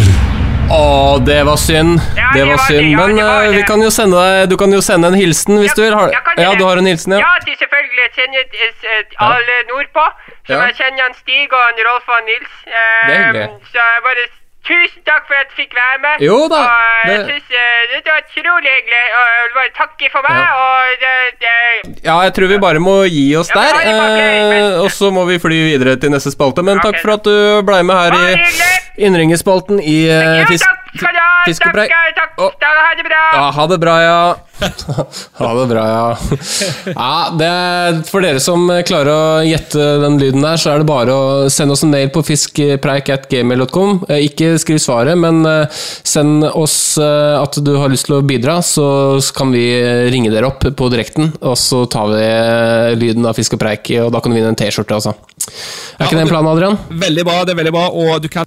G: Å, det var synd.
D: Ja,
G: det var synd.
D: ja,
G: Men
D: det var
G: eh, vi
D: det.
G: kan jo sende deg Du kan jo sende en hilsen hvis
D: Ja,
G: du vil. Har,
D: jeg kan
G: ja,
D: gjøre
G: du
D: det.
G: har en hilsen, ja?
D: Ja, til selvfølgelig kjenner jeg, eh, eh, alle nordpå. Som
G: Ja.
D: jeg kjenner han Stig og han Rolf og han Nils. Eh,
G: Det er hyggelig.
D: Så jeg bare s- tusen takk for at jeg fikk være med.
G: Jo da,
D: Og eh, jeg
G: det-
D: synes eh, det var utrolig hyggelig. Og jeg vil bare takke for meg.
G: Ja.
D: Og det, det,
G: Ja, jeg tror vi bare må gi oss
D: Ja,
G: der.
D: vi må bli,
G: eh,
D: men-
G: Og så må vi fly videre til neste spalte. Men takk
D: Ok.
G: for at du blei med her i
D: Bare hyggelig.
G: Innringerspalten i eh,
D: jo,
G: Fisk...
D: takk skal du ha.
G: fisk og
D: Takk,
G: preik.
D: skal- takk.
G: Å.
D: Da, ha det bra.
G: Ja, ha det bra, ja. ha det bra, ja. ja det er, for dere som klarer å gjette den lyden der, så er det bare å sende oss en mail på fiskpreik.gmail.com. Eh, Ikke skriv svaret, men eh, send oss eh, at du har lyst til å bidra, så kan vi ringe dere opp på direkten, og så tar vi eh, lyden av fisk og preik, og da kan du vinne en T-skjorte, altså. Er ikke det en plan, Adrian?
F: Veldig bra, det er veldig bra. Og du kan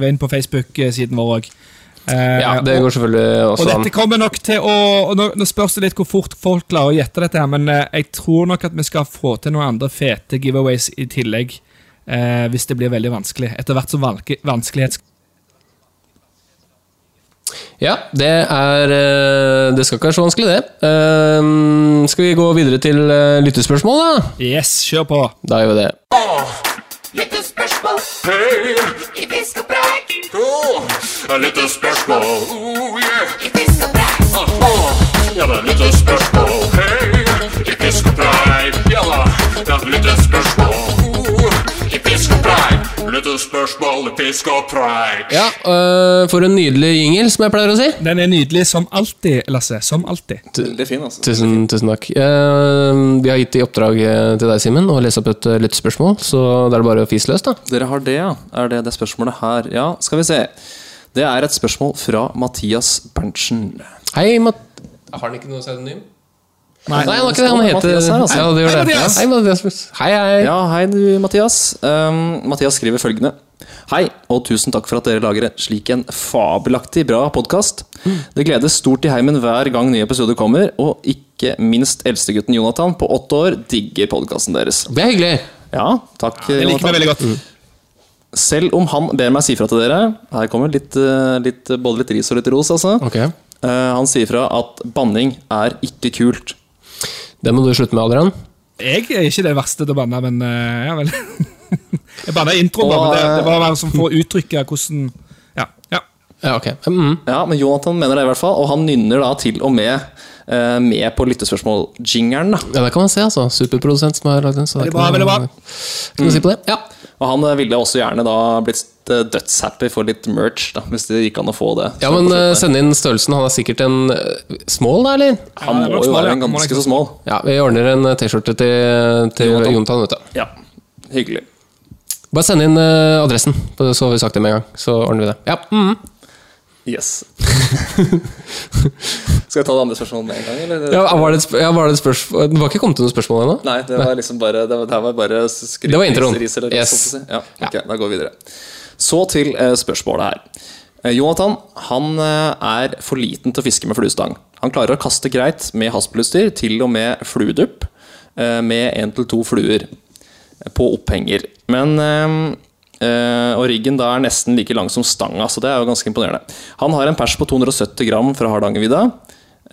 F: gå inn på Facebook-siden vår òg.
G: Ja, det sånn. går selvfølgelig
F: Og
G: også an.
F: dette kommer nok til å og nå, nå spørs det litt hvor fort folk klarer å gjette dette, her, men eh, jeg tror nok at vi skal få til noen andre fete giveaways i tillegg. eh, hvis det blir veldig vanskelig. Etter hvert som valke, vanskelighets...
G: Ja, det er eh, Det skal ikke være så vanskelig, det. Ehm, Skal vi gå videre til eh, lyttespørsmål, da?
F: Yes, kjør på!
G: Da gjør vi det. Ja, eh, for en nydelig jingle, som jeg pleier å si.
F: Den er nydelig som alltid, Lasse. Som alltid.
H: Veldig fin, altså.
G: Tusen, tusen takk. Ehm, vi har gitt i oppdrag eh, til deg, Simen, å lese opp et eh, lyttespørsmål, så da er det bare å fise løs, da.
H: Dere har det, ja? Er det det spørsmålet her? Ja, skal vi se. Det er et spørsmål fra Mathias Berntsen.
G: Hei, Mat... Har han ikke noe pseudonym? Nei, han har ikke det. Han
H: Står det
G: heter
H: Mathias her, altså?
G: Ja, det gjør
F: Hei,
G: det.
F: Mathias!
G: Hei, Mathias. Hei, hei.
H: Ja, hei du, Mathias. Um, Mathias skriver følgende. Hei, og tusen takk for at dere lager en slik en fabelaktig bra podkast. Det gleder stort i heimen hver gang nye episoder kommer, og ikke minst eldstegutten Jonathan på åtte år digger podkasten deres.
G: Det er hyggelig.
H: Ja, takk,
F: Jeg liker meg
H: Jonathan.
F: veldig godt.
G: Mm.
H: Selv om han ber meg si fra til dere Her kommer litt, eh, litt, både litt ris og litt ros, altså.
G: Ok,
H: Eh, han sier fra at banning er ikke kult.
G: Det må du slutte med, Adrian.
F: Jeg er ikke det verste til å banne, men eh, ja vel. [laughs] Jeg banna i introen, bare,
H: Og,
F: men det, det
G: eh,
F: var hver som får uttrykke hvordan Ja. ja.
G: Ja, ok. Mm.
H: Ja, men Jonathan mener det i hvert fall, og han nynner da til og med eh, med på lyttespørsmål-jingeren. da.
G: Ja, det kan man se, altså. Superprodusent som har lagd den. Så det
F: Veldig
G: er
F: bra,
G: ikke
F: veldig
G: noe-
F: bra.
G: Ikke noe å si på det. Ja.
H: Og han eh, ville også gjerne da blitt eh, dødshappy for litt merch, da, hvis det gikk an å få det.
G: ja,
H: Så
G: men eh,
H: på slutten her.
G: send inn størrelsen. Han er sikkert en eh, small, da, eller?
H: Han
F: Ja, det er nok
H: må jo
F: smal, ja.
H: være en
F: Han må
H: ganske
F: liksom-
H: så smal.
G: Ja, vi ordner en eh, T-skjorte til, til
H: Jonathan.
G: Jonathan, vet du.
H: Ja. Hyggelig.
G: Bare send inn eh, adressen, på- så har vi sagt det med en gang. Så ordner vi det. Ja, mm. [laughs]
H: Yes. Skal jeg ta det andre spørsmålet med en gang, eller?
G: ja, var, det et, sp- ja var det et spørsmål Det var ikke kommet til noe spørsmål ennå?
H: Nei, det var liksom bare Det, var, det her var bare skryt.
G: Det var introen.
H: ris- ris eller
G: Yes.
H: sånt å si. Ja, ok, Da går vi videre. Så til eh, spørsmålet her. Eh, Jonathan han eh, er for liten til å fiske med fluestang. Han klarer å kaste greit med haspelutstyr, til og med fluedupp, eh, med én til to fluer på opphenger. Men eh, eh, Og riggen da er nesten like lang som stanga, så det er jo ganske imponerende. Han har en pers på 270 gram fra Hardangervidda.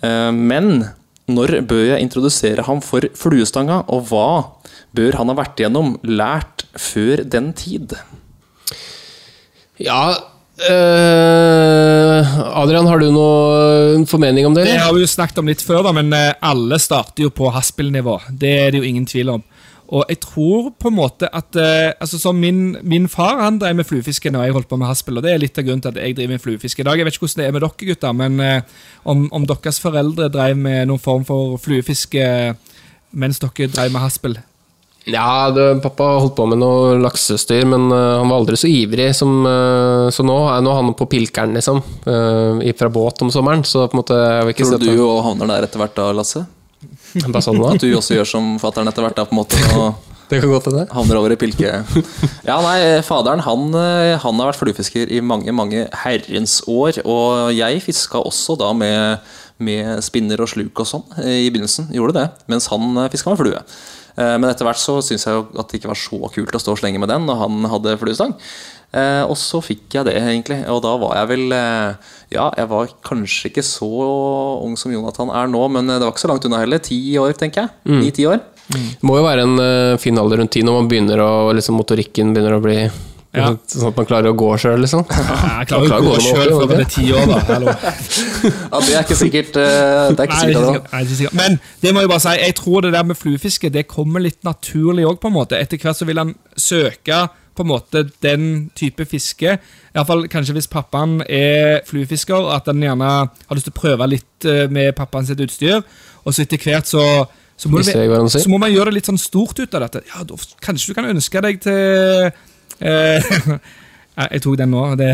H: Eh, men når bør jeg introdusere ham for fluestanga, og hva bør han ha vært igjennom, lært, før den tid?
G: Ja eh, Adrian, har du noen formening om det?
F: Det
G: eller?
F: har vi jo snakket om litt før, da, men eh, alle starter jo på haspelnivå. Det er det jo ingen tvil om. Og jeg tror på en måte at eh, altså som min, min far han drev med fluefiske når jeg holdt på med haspel. og Det er litt av grunnen til at jeg driver med fluefiske i dag. Jeg vet ikke hvordan det er med dere gutter, men eh, om, om deres foreldre drev med noen form for fluefiske mens dere drev med haspel.
G: Ja, det, pappa holdt på med noe laksestyr, men øh, han var aldri så ivrig som øh, Så nå er nå er han på pilkeren, liksom. øh, i- fra båt om sommeren, så på en måte jeg vil ikke
H: Tror
G: si at
H: du du òg havner der etter hvert, da, Lasse?
G: han- bare sånn da.
H: [laughs] At du også gjør som fattern etter hvert, da, på en måte, og
G: Det kan godt hende.
H: havner over i pilke... [laughs] Ja, nei, faderen han, eh, han har vært fluefisker i mange, mange herrens år, og jeg fiska også da med, med spinner og sluk og sånn eh, i begynnelsen, gjorde det, mens han fiska med flue. Eh, Men etter hvert så syntes jeg jo at det ikke var så kult å stå og slenge med den, og han hadde fluestang. Eh, og så fikk jeg det, egentlig. Og da var jeg vel eh, Ja, jeg var kanskje ikke så ung som Jonathan er nå, men eh, det var ikke så langt unna heller. Ti år, tenker jeg. Ni-ti år.
G: Det må jo være en øh, fin alder rundt ti når man begynner å liksom, Motorikken begynner å bli Sånn at man klarer å gå sjøl, liksom.
F: Jeg klarer jo ikke å gå sjøl før man er ti år, da. Hallo.
H: Ja, det er ikke sikkert. eh, Det er ikke
F: Nei, det er
H: sikkert det
F: ikke
H: var.
F: sikkert. Nei, det er ikke sikkert. Men det må jeg bare si, jeg tror det der med fluefiske det kommer litt naturlig òg, på en måte. Etter hvert så vil han søke på en måte den type fiske. Iallfall kanskje hvis pappaen er fluefisker, at han gjerne har lyst til å prøve litt eh, med pappaen sitt utstyr. Og så etter hvert så så må,
G: Hvis jeg hva han
F: du,
G: sier.
F: så må man gjøre det litt sånn stort ut av dette. Ja, da, kanskje du kan ønske deg til eh, [laughs] ja, Jeg tok den nå. Det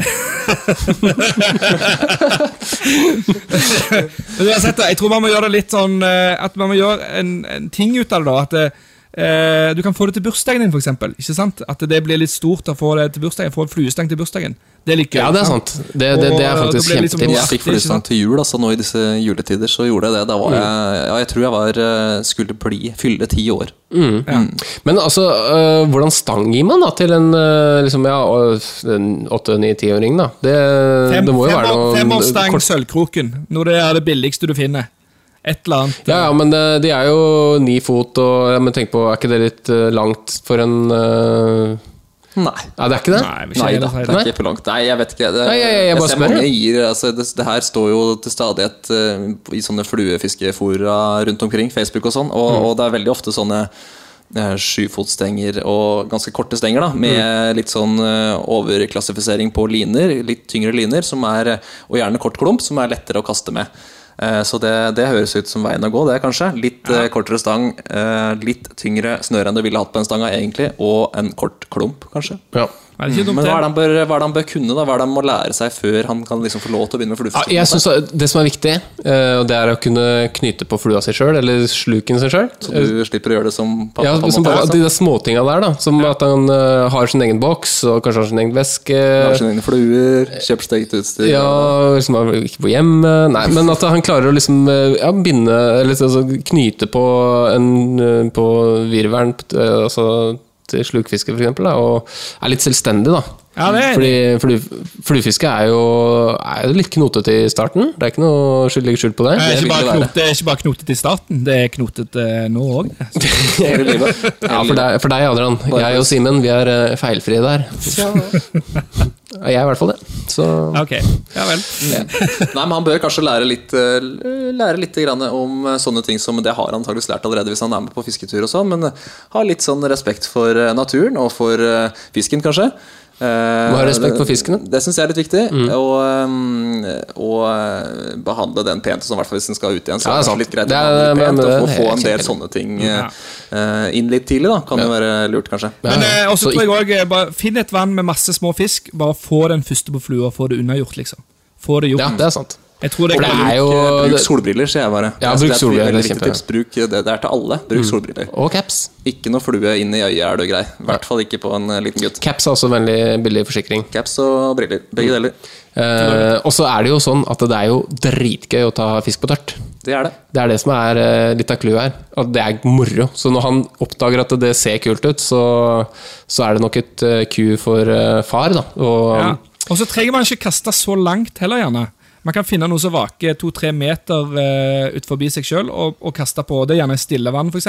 F: Men uansett, da, jeg tror man må gjøre det litt sånn eh, At man må gjøre en, en ting ut av det. da At eh, Du kan få det til bursdagen din, for eksempel, Ikke sant? At det blir litt stort å få det til bursdagen. Få en fluestang til bursdagen. Det liker
G: Ja, det er sant. Det, det, det er
F: Og da
G: faktisk
F: blir det liksom
G: kjempetips.
H: Jeg fikk fluestang til jul, altså nå i disse juletider så gjorde jeg det. Da var jeg Ja, jeg tror jeg var eh, skulle bli fylle ti år.
G: Men altså, øh, hvordan stang gir man da til en øh, liksom, ja, og- en åtte, ni, tiåring, da? Det,
F: Fem-
G: det må jo
F: fem-
G: være noe
F: Femårsstang Sølvkroken. Når det er det billigste du finner. Et eller annet.
G: Ja, ja, men det, de er jo ni fot, og ja, men tenk på, er ikke det litt eh, langt for en eh,
H: Nei.
G: Nei, det er ikke det?
F: Nei, vi
H: Nei
F: kjenner
H: da,
F: det
H: det
F: feil.
H: er ikke for langt. Nei, jeg vet ikke. Det,
G: Nei, jeg- jeg bare
H: ser
G: spør,
H: mange
G: jeg.
H: gir altså, det, det her står jo til stadighet eh, i sånne fluefiskefora rundt omkring, Facebook og sånn, og, og det er veldig ofte sånne eh, Sjufotsstenger og ganske korte stenger, da med litt sånn eh, overklassifisering på liner. Litt tyngre liner, som er, eh, og gjerne kort klump, som er lettere å kaste med. Eh, Så det, det høres ut som veien å gå, det, kanskje. Litt eh, kortere stang, eh, litt tyngre snøre enn du ville hatt på en stanga, egentlig, og en kort klump, kanskje.
G: Ja.
F: Nei, det er ikke dumt,
H: Men hva er, det
F: det.
H: han bør, hva er det han bør kunne, da? Hva er det han må lære seg før han kan liksom få lov til å begynne med
G: Ja,
H: fluefisking?
G: Ah, jeg synes at Det som er viktig, eh, og det er å kunne knyte på flua si sjøl, eller sluken sin sjøl.
H: så du slipper å gjøre det som pappa?
G: Ja,
H: på en
G: som
H: måte,
G: bare,
H: liksom.
G: de der småtinga der, da. Som at han eh, har sin egen boks, og kanskje har sin egen veske.
H: Lager sine egne fluer, kjøper stekt utstyr
G: Ja, liksom han ikke på hjem Nei, men at han klarer å liksom eh, ja, binde Eller altså, knyte på en eh, På virvelen eh, Altså til slukfiske for eksempel da, Og er litt selvstendig da
F: Ja, det er
G: Fordi flu, fluefiske er jo Er jo litt knotete i starten Det er ikke noe skyld, ligger skjult på det
F: Det er
H: vil
F: ikke bare
H: det være.
F: knotet- Det er ikke bare knotet i starten, det er knotet eh, nå òg.
G: [laughs]
H: hele livet.
G: ja, for, deg, for deg, Adrian Jeg og Simen, vi er eh, feilfrie der [laughs] Ja, Jeg er i hvert fall det Så
F: Ok, ja vel.
G: Mm.
H: Nei, men Han bør kanskje lære litt, eh, lære litt grann om eh, sånne ting som Det har han antakeligvis lært allerede hvis han er med på fisketur, og sånn, men eh, ha litt sånn respekt for eh, naturen og for eh, fisken, kanskje.
G: Må ha respekt for fisken, da. Mm.
H: Det syns jeg er litt viktig. Og, um, og uh, behandle den pent, og sånn, i hvert fall hvis den skal ut igjen. Så
G: Ja, det er
H: er det
G: sant.
H: kanskje litt greit
G: Det
H: å
G: er-
H: behandle
G: men-
H: den pent,
G: men
H: og
G: det
H: få,
G: er
H: få
G: helt
H: en del
G: sikkert.
H: sånne ting uh, uh, inn litt tidlig. da Kan jo være lurt, kanskje.
G: Ja,
F: Men
G: ja.
F: eh, også
G: Så
F: tror jeg også, eh, bare Finn et vann med masse små fisk. Bare få den første på flua, få det unnagjort, liksom. Få det gjort.
G: Ja, det er sant.
F: Jeg tror det
G: For det
F: kan-
G: er jo
H: Bruk
G: det,
H: solbriller, sier jeg bare.
G: Ja, bruk
H: Altså, det er et
G: solbriller,
H: veldig
G: det er Mm.
H: viktig tips. Bruk, eh, det, det er til alle. Bruk solbriller.
G: Og caps.
H: Ikke noe flue inn i øyet er du grei. I hvert fall ikke på en eh, liten gutt.
G: Caps er også en veldig billig forsikring.
H: Caps og briller. Begge deler.
G: Eh, og så er det jo sånn at det er jo dritgøy å ta fisk på tørt.
H: Det er det.
G: Det er det som er eh, litt av clouet her. At det er moro. Så når han oppdager at det ser kult ut, så, så er det nok et eh, cue for eh, far, da. Og,
F: Ja. Og så trenger man ikke kaste så langt heller, gjerne. Man kan finne noe som vaker to-tre meter uh, ut forbi seg sjøl, og, og kaste på. Det er gjerne stillevann, f.eks.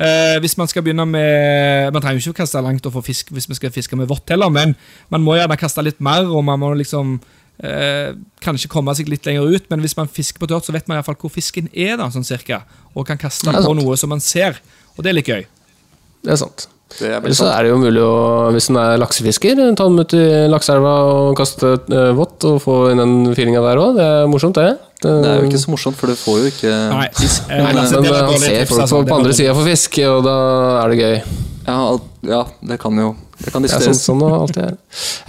F: Uh, hvis man skal begynne med Man trenger jo ikke å kaste langt og få fisk hvis man skal fiske med vått heller, men man må gjerne kaste litt mer, og man må liksom eh, kanskje komme seg litt lenger ut. Men hvis man fisker på tørt, så vet man i hvert fall hvor fisken er, da, sånn cirka. Og kan kaste
G: er
F: på
G: sant.
F: noe som man ser. Og det er litt gøy.
G: Det er sant.
H: Det er
G: Eller
H: veldig
G: så
H: sant.
G: er det jo mulig å, hvis en er laksefisker, ta den ut i lakseelva og kaste eh, vått og få inn den feelinga der òg. Det er morsomt, det. Det,
H: Det er jo ikke så morsomt, for du får jo ikke [laughs]
F: Nei, eh,
G: Nei,
F: altså,
G: men
F: det var
G: han
F: dårlig
G: ser
F: tips,
G: folk
F: altså. Det
G: på, på
F: var
G: andre
F: dårlig.
G: sida for fisk, og da er det gøy.
H: Ja, al- ja det kan jo Det kan
G: Det er sånn,
H: diskuteres.
G: sånn og alt det her.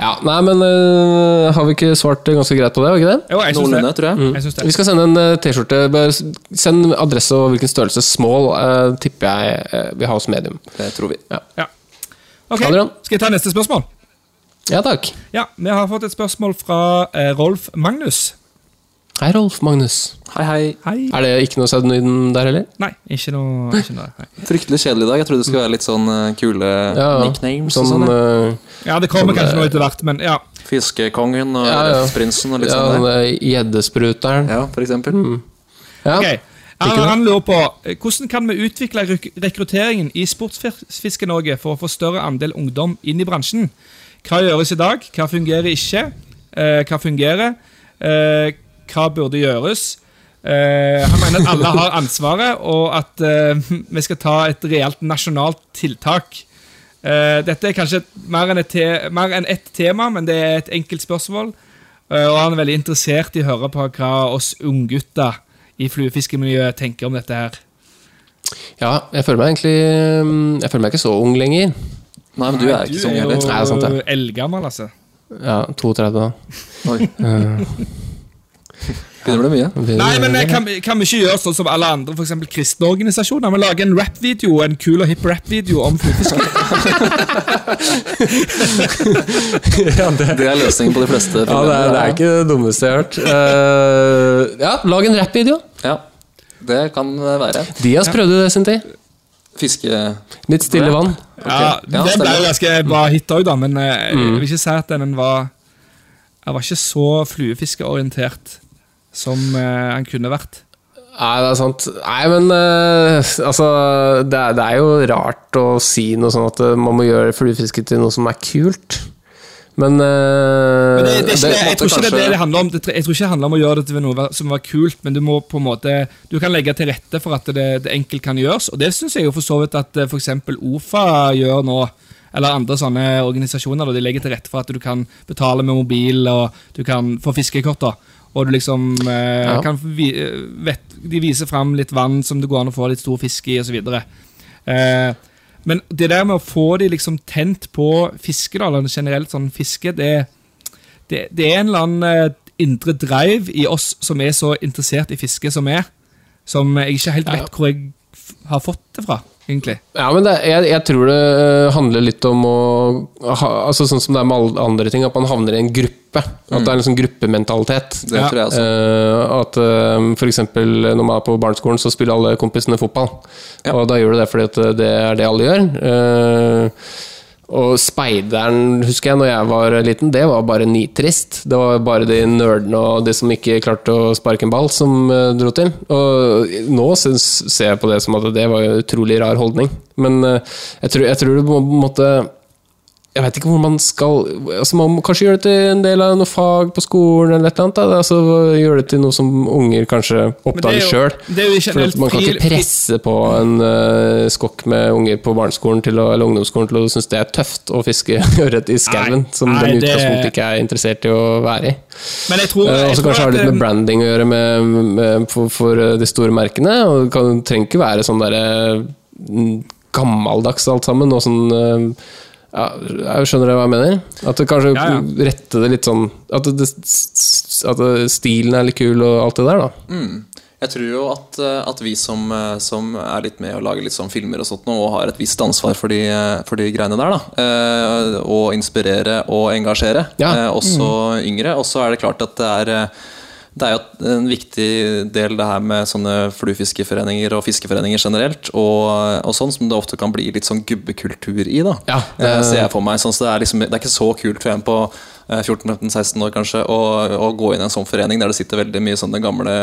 G: Ja, nei, men eh, har vi ikke svart ganske greit på det? Har vi ikke det? Mm.
F: Jo, jeg syns
H: Noenlunde,
F: det.
H: tror jeg.
F: Jeg syns det.
G: Vi skal sende en eh, T-skjorte. Bare s- Send adresse og hvilken størrelse. Small eh, tipper jeg eh, vi har hos medium.
H: Det tror vi.
F: Ja. Ok,
G: Adrian?
F: Skal jeg ta neste spørsmål?
G: Ja takk.
F: Ja, Vi har fått et spørsmål fra eh, Rolf Magnus.
G: Hei, Rolf Magnus.
H: Hei, hei.
F: Hei.
G: Er det ikke noe pseudonym der heller?
F: Nei, ikke noe, ikke noe nei.
H: Fryktelig kjedelig i dag. Jeg trodde det skulle være litt sånn eh, kule
G: Ja, ja.
H: nicknames. og
G: Sånn,
H: sånn, ja.
G: eh,
F: Ja, Det kommer kanskje noe etter hvert, men eh, ja.
H: Fiskekongen og
G: Ja, ja.
H: Prinsen og litt
G: ja, eh, mm.
H: sånn der.
G: det er Gjeddespruteren.
H: Ja, for eksempel.
G: Ja.
F: Ok, han, han lurer på eh, hvordan kan vi utvikle rek rekrutteringen i Sportsfiske-Norge for å få større andel ungdom inn i bransjen? Hva gjøres i dag? Hva fungerer ikke? Eh, hva fungerer? Eh, hva burde gjøres? Eh, han mener at alle [laughs] har ansvaret, og at eh, [laughs] vi skal ta et reelt nasjonalt tiltak. Eh, dette er kanskje mer enn, et te mer enn ett tema, men det er et enkelt spørsmål. Eh, og han er veldig interessert i å høre på hva oss unggutter i fluefiskemiljøet tenker om dette her.
G: ja, jeg føler meg egentlig eh, Jeg føler meg ikke så ung lenger.
H: Nei, men du er ikke så ung heller.
G: Nei, sant det.
F: [laughs] eldgammel, altså.
G: Ja, 32 da.
H: Oi. Begynner det
G: [laughs]
H: mye?
F: Nei, men eh, kan, vi- kan vi ikke gjøre sånn som alle andre, f.eks. kristne organisasjoner? Vi lager en rap-video, en kul og hipp rap-video om fluefiske.
H: Det er løsningen på de fleste
G: Ja, det er, det er ikke det dummeste jeg har hørt. Eh, ja, lag en rappvideo.
H: Ja, det kan være.
G: Dias prøvde det sin tid.
H: Fiske...
G: Litt stille vann.
F: [laughs] Ja,
H: Ja,
F: den ble
H: stemmer.
F: jo ganske bra hit òg, da, men eh, jeg vil ikke si at den var Jeg var ikke så fluefiskeorientert som eh, han kunne vært.
G: Nei, det er sant. Nei, men eh, altså det er, det er jo rart å si noe sånn at eh, man må gjøre fluefiske til noe som er kult. Men, eh,
F: Men det, det er ikke, det- jeg tror ikke det, er det
H: kanskje-
F: det handler om. Det, jeg tror ikke det handler om å gjøre det til noe som var kult, men du må på en måte Du kan legge til rette for at det, det enkelt kan gjøres, og det syns jeg jo for så vidt at f.eks. OFA gjør nå. Eller andre sånne organisasjoner. Da, de legger til rette for at du kan betale med mobil og du kan få fiskekort. da Og du liksom eh,
G: Ja.
F: kan vi, eh, vet, De viser fram litt vann som det går an å få litt stor fisk i, osv. Eh, men det der med å få de liksom tent på fiske, da, eller generelt sånn fiske, det er det, det er en eller annen eh, indre drive i oss som er så interessert i fiske som er, som jeg ikke helt vet hvor jeg f har fått det fra, egentlig.
G: ja, men det, jeg, jeg tror det eh, handler litt om å ha, altså Sånn som det er med alle andre ting, at man havner i en gruppe. At det er en sånn gruppementalitet.
H: Mm. Det
F: Ja.
H: tror jeg også.
G: Eh, at eh, for eksempel når man er på barneskolen, så spiller alle kompisene fotball. Og da gjør du det fordi at eh, det er det alle gjør. Eh, og speideren, husker jeg, når jeg var liten, det var bare nitrist. Det var bare de nerdene og de som ikke klarte å sparke en ball, som eh, dro til. Og nå syns, ser jeg på det som at det var en utrolig rar holdning. Men eh, jeg, tror, jeg tror det på en måte jeg vet ikke hvor man skal altså Man må kanskje gjøre det til en del av noe fag på skolen, eller et eller annet. Da. Altså, gjøre det til noe som unger kanskje oppdager sjøl.
F: det er jo ikke
G: For at
F: helt
G: Man kan
F: fri-
G: ikke presse på en eh, skokk med unger på barneskolen til å, eller ungdomsskolen til å synes det er tøft å fiske [laughs] ørret i skauen,
F: Nei,
G: som
F: nei,
G: de i
F: det-
G: utgangspunktet ikke er interessert i å være i.
F: Men jeg tror,
G: Eh,
F: jeg
G: også
F: tror
G: kanskje har
F: at,
G: det litt med
F: eh,
G: branding å gjøre med, med, for, for eh, de store merkene. Og det kan, trenger ikke være sånn derre mm, gammeldags alt sammen. Og sånn eh, ja, jeg Skjønner dere hva jeg mener? At det kanskje
F: Ja, ja.
G: rette det litt sånn At, det, at det, stilen er litt kul og alt det der, da.
H: Jeg tror jo at, eh, at vi som, eh, som er litt med og lager litt sånn filmer og sånt nå, og har et visst ansvar for de, eh, for de greiene der, da. eh, Å inspirere og engasjere,
G: Ja. Mm.
H: eh, også yngre. Og så er det klart at det er eh, det er jo en viktig del det her med sånne fluefiskeforeninger og fiskeforeninger generelt, og, og sånn som det ofte kan bli litt sånn gubbekultur i. da
G: Ja,
H: Eh, Ser jeg for meg sånn, så det, er liksom, det er ikke så kult for en på eh, 14-15-16 år kanskje å, å gå inn i en sånn forening der det sitter veldig mye sånne gamle